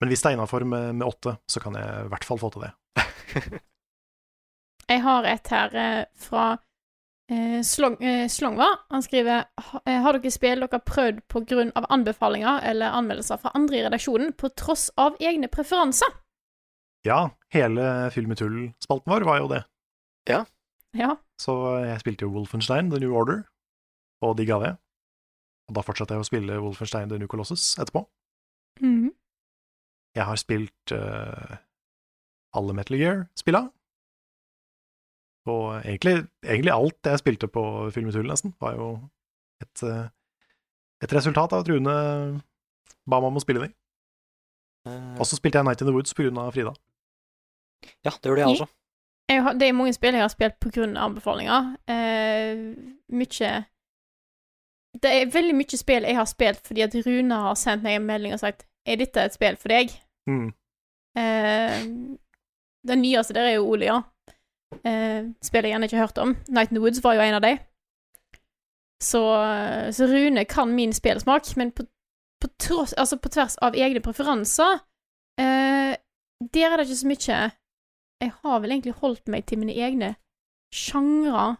Men hvis det er innafor med, med åtte, så kan jeg i hvert fall få til det. Eh, Jeg har et her eh, fra eh, Slong, eh, Slongva. Han skriver «Ha- eh, Har dere spill dere har prøvd på grunn av anbefalinger eller anmeldelser fra andre i redaksjonen på tross av egne preferanser? Ja, hele Fyll med tull-spalten vår var jo det. Ja. Så jeg spilte jo Wolfenstein The New Order, og digga det. Og da fortsatte jeg å spille Wolfenstein The New Colossus etterpå. Mhm. Jeg har spilt eh, alle Metal Gear-spilla. Og egentlig, egentlig alt jeg spilte på Filmetull, nesten, var jo et, eh, et resultat av at Rune ba meg om å spille de. Eh, Og så spilte jeg Night in the Woods på grunn av Frida. ja, det gjør det jeg også. Jeg har, det er mange spill jeg har spilt på grunn av anbefalinger. Eh, mye Det er veldig mye spill jeg har spilt fordi at Rune har sendt meg en melding og sagt Er dette et spill for deg? Mm. Eh, den nyeste der er jo Ole, ja. Eh, spillet jeg gjerne ikke har hørt om. Night in the Woods var jo en av de. Så, eh, så Rune kan min spillsmak, men på, på, tross, altså på tvers av egne preferanser eh, Der er det ikke så mye Jeg har vel egentlig holdt meg til mine egne sjangre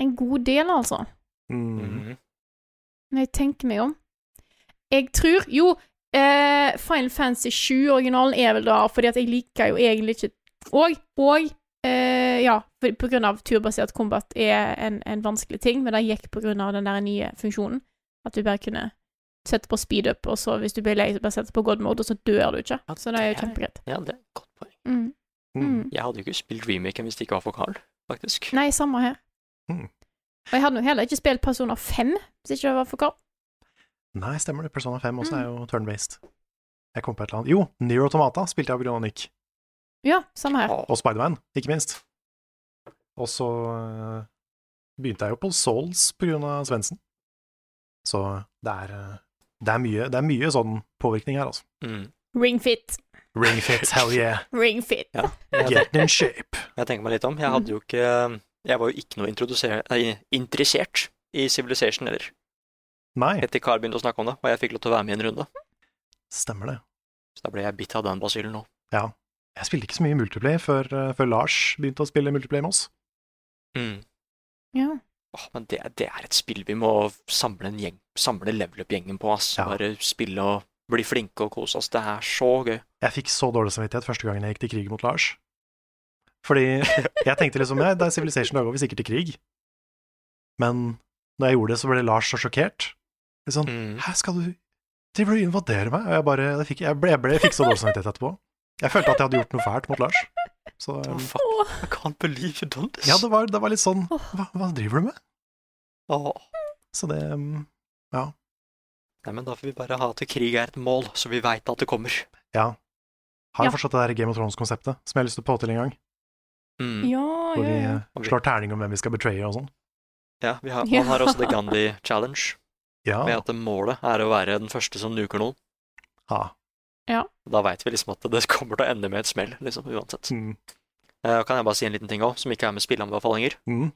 en god del, altså. Mm. Mhm. Når jeg tenker meg om. Jeg tror Jo, eh, Final Fantasy 7-originalen er vel der, fordi at jeg liker jo egentlig ikke Og, og eh, Ja, for, på grunn av turbasert combat er en, en vanskelig ting, men det gikk på grunn av den der nye funksjonen. At du bare kunne sette på speed up, og så hvis du blir lei, så bare sette på god mode, og så dør du ikke. Ja, Så det er jo det er- kjempegreit. Ja, det er et godt poeng. Mm. Mm. Mm. Jeg hadde jo ikke spilt remaken hvis det ikke var for Carl, faktisk. Nei, samme her. Mm. Og jeg hadde nå heller ikke spilt Personer 5, hvis ikke det var for Karl. Nei, stemmer det. Persona 5 også er jo turn-based. Jeg kom på et eller annet Jo, Near Automata spilte jeg på grunn av Nick. Ja, samme her. Og Spiderman, ikke minst. Og så eh, begynte jeg jo på Souls på grunn av Svendsen. Så det er, eh, det, er mye, det er mye sånn påvirkning her, altså. Mm. Ringfit. Ringfit, hell yeah, Ringfit. Ja. Jeg, tenk- get in shape. jeg tenker meg litt om. Jeg hadde jo ikke Jeg var jo ikke noe introduser- nei, interessert i Civilization heller. Nei, Etter Carl begynte å snakke om det, og jeg fikk lov til å være med i en runde. stemmer det. Så da ble jeg bitt av den basillen nå. Jeg spilte ikke så mye multiplayer før, eh, før Lars begynte å spille multiplayer med oss. Mm. Ja. Åh, men det, det er et spill vi må samle, en gjeng, samle level up-gjengen på. ass. Ja. Bare spille og bli flinke og kose oss. Det er så gøy. Jeg fikk så dårlig samvittighet første gangen jeg gikk til krig mot Lars. Fordi jeg tenkte liksom ja, det er Civilization, da går vi sikkert til krig. Men når jeg gjorde det, så ble Lars så sjokkert. Litt sånn Hæ, skal du Driver du og invaderer meg? Og jeg bare jeg, fikk, jeg, ble, jeg, ble, jeg fikk så dårlig samvittighet etterpå. Jeg følte at jeg hadde gjort noe fælt mot Lars. Så Oh, um, fuck, I can't believe you done this. ja, det var, det var litt sånn hva, hva driver du med? Åh. Så det um, Nei, men da får vi bare ha til krig er et mål, så vi veit at det kommer. Ja. Har Ja. jeg fortsatt det der Game of Thrones-konseptet som jeg har lyst til å få til en gang? Mm. Ja, Hvor ja, vi ja. eh, slår terning om hvem vi skal betraye og sånn. Ja, vi har, Ja. Man har også The Gandhi Challenge. Ja. med at målet er å være den første som nuker noen. Ah. Da veit vi liksom at det kommer til å ende med et smell, liksom, uansett. Mm. Eh, Kan jeg bare si en liten ting òg, som ikke er med spilleanbefalinger? Mm.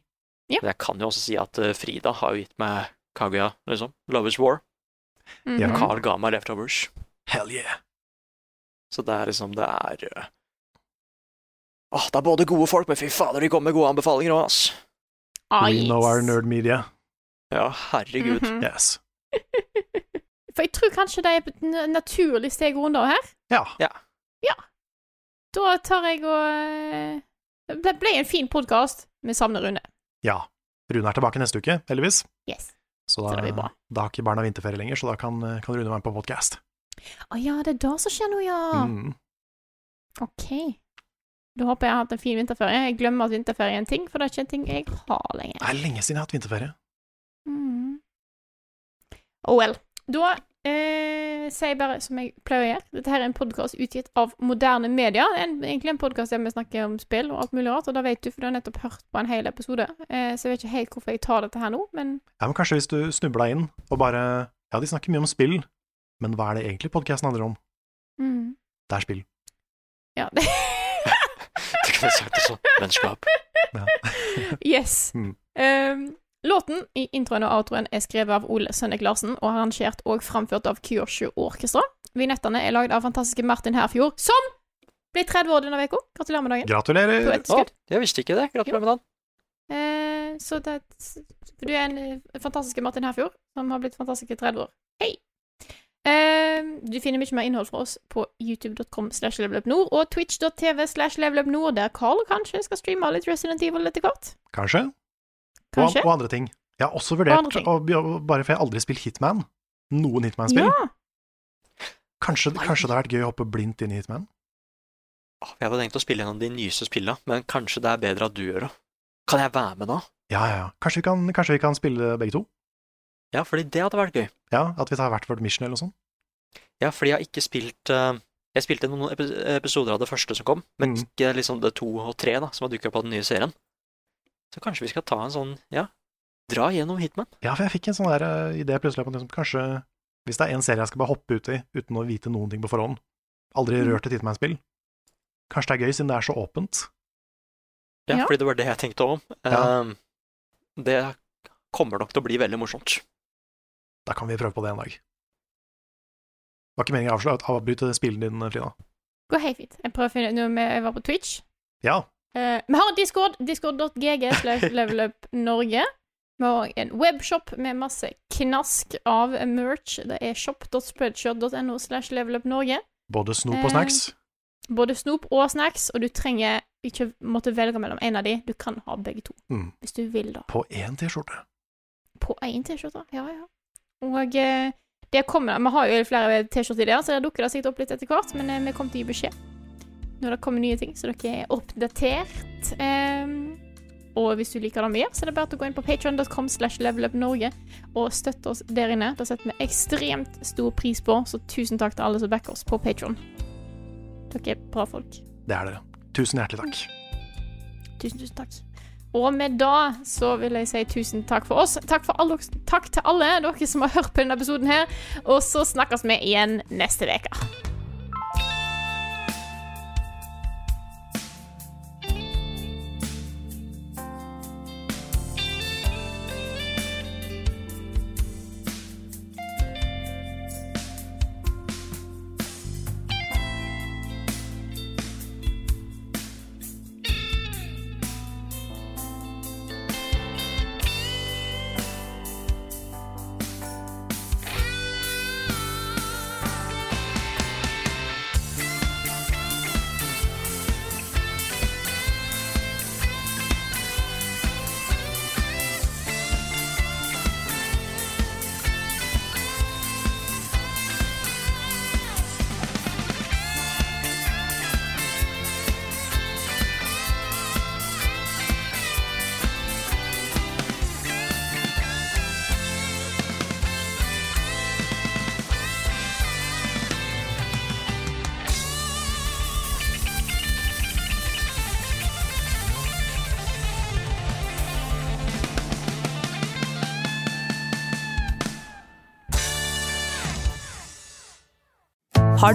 Ja. Men jeg kan jo også si at eh, Frida har jo gitt meg Kaguya, liksom. Love is War. Mhm. Ja. Carl ga meg Leftovers. Mm. Hell yeah. Så det er liksom, det er eh, Åh, det er både gode folk, men fy fader, de kommer med gode anbefalinger òg, ass. Ah, We know our yes. nerd media. Ja, herregud. Mhm. Yes. For jeg tror kanskje det er et n- naturlig steg under her. Ja. Da tar jeg og eh, Det ble en fin podkast. Vi savner Rune. ja. Rune er tilbake neste uke, heldigvis. Yes. Så Så da, det blir bra. da har ikke barna vinterferie lenger, så da kan, eh, kan Rune være med på podkast. Å ja, det er det som skjer nå, ja. Mm. OK. Da håper jeg jeg har hatt en fin vinterferie. Jeg glemmer at vinterferie er en ting, for det er ikke en ting jeg har lenger. Det er lenge siden jeg har hatt vinterferie. Mm. Oh well. Da eh, sier jeg bare som jeg pleier å gjøre. Dette her er en podkast utgitt av moderne media. Det er en, egentlig en podkast der vi snakker om spill og alt mulig rart, og det vet du, for du har nettopp hørt på en hel episode. Eh, så jeg vet ikke helt hvorfor jeg tar dette her nå, men Ja, men Kanskje hvis du snubla inn og bare Ja, de snakker mye om spill, men hva er det egentlig podkasten handler om? mm. Det er spill. Ja. det- Du kunne sagt det sånn. Vennskap. yes. Mm. Um, låten i introen og outroen er skrevet av Ole Sønnek Larsen og arrangert og framført av Kyosho Orkestra. Vignettene er lagd av fantastiske Martin Herfjord, som ble 30 år denne uka. Gratulerer med dagen. På Gratulerer! ett Å, skudd. jeg visste ikke det. Gratulerer med dagen. Eh, så det Du er en eh, fantastisk Martin Herfjord, som har blitt fantastisk i 30 år. Hei! Eh, du finner mye mer innhold fra oss på youtube.com slash levelupnord og twitch.tv slash levelupnord, der Carl kanskje skal streame litt Resident Evil etter hvert. Kanskje. Og, Kanskje. og andre ting. Jeg har også andre vurdert, ting. å be- bare for jeg har aldri spilt Hitman, noen Hitman-spill Ja! kanskje, kanskje det har vært gøy å hoppe blindt inn i Hitman? Åh, Jeg hadde tenkt å spille gjennom de nyeste spillene, men kanskje det er bedre at du gjør det. Kan jeg være med da? Ja, ja, ja. Kanskje vi kan, kanskje vi kan spille begge to? Ja, fordi det hadde vært gøy. Ja, At vi tar hvert vårt mission eller noe sånt? Ja, fordi jeg har ikke spilt eh, Jeg spilte noen epi- episoder av det første som kom, men Mm. ikke liksom det to og tre da, som har dukka opp av den nye serien. Så kanskje vi skal ta en sånn, ja Dra gjennom Hitman. Ja, for jeg fikk en sånn der eh, idé plutselig om at liksom, kanskje Hvis det er en serie jeg skal bare hoppe ut i uten å vite noen ting på forhånd, aldri rørt et Hitman-spill, kanskje det er gøy siden det er så åpent? Ja, Ja. fordi det var det jeg tenkte om. Ja. Ehm, det kommer nok til å bli veldig morsomt. Da kan vi prøve på det en dag. Det var ikke meningen å avslå- å avbryte spillen din, Frida. Går helt fint. Jeg prøver å finne ut noe med Jeg var på Twitch. Ja, Eh, vi har en Discord. Discord.gg slash levelupnorge. Vi har også en webshop med masse knask av merch. Det er shop.spreadshirt.no slash levelupnorge. både snop Eh, og snacks. Både snop og snacks, og du trenger ikke måtte velge mellom en av de. Du kan ha begge to, Mm. hvis du vil, da. På én T-skjorte. På én T-skjorte. Ja, ja. Og eh, det kommer Vi har jo flere T-skjorte-ideer, så der dukker det sikkert opp litt etter hvert. Men eh, vi kommer til å gi beskjed når det kommer nye ting, så dere er oppdatert. Em, og hvis du liker det vi gjør, så er det bare til å gå inn på patreon.com slash levelupnorge og støtte oss der inne. Det setter vi ekstremt stor pris på, så tusen takk til alle som backer oss på Patron. Dere er bra folk. Det er dere. Tusen hjertelig takk. Tusen, tusen takk. Og med det så vil jeg si tusen takk for oss. Takk, for alle, takk til alle dere som har hørt på denne episoden her. Og så snakkes vi igjen neste uke. Har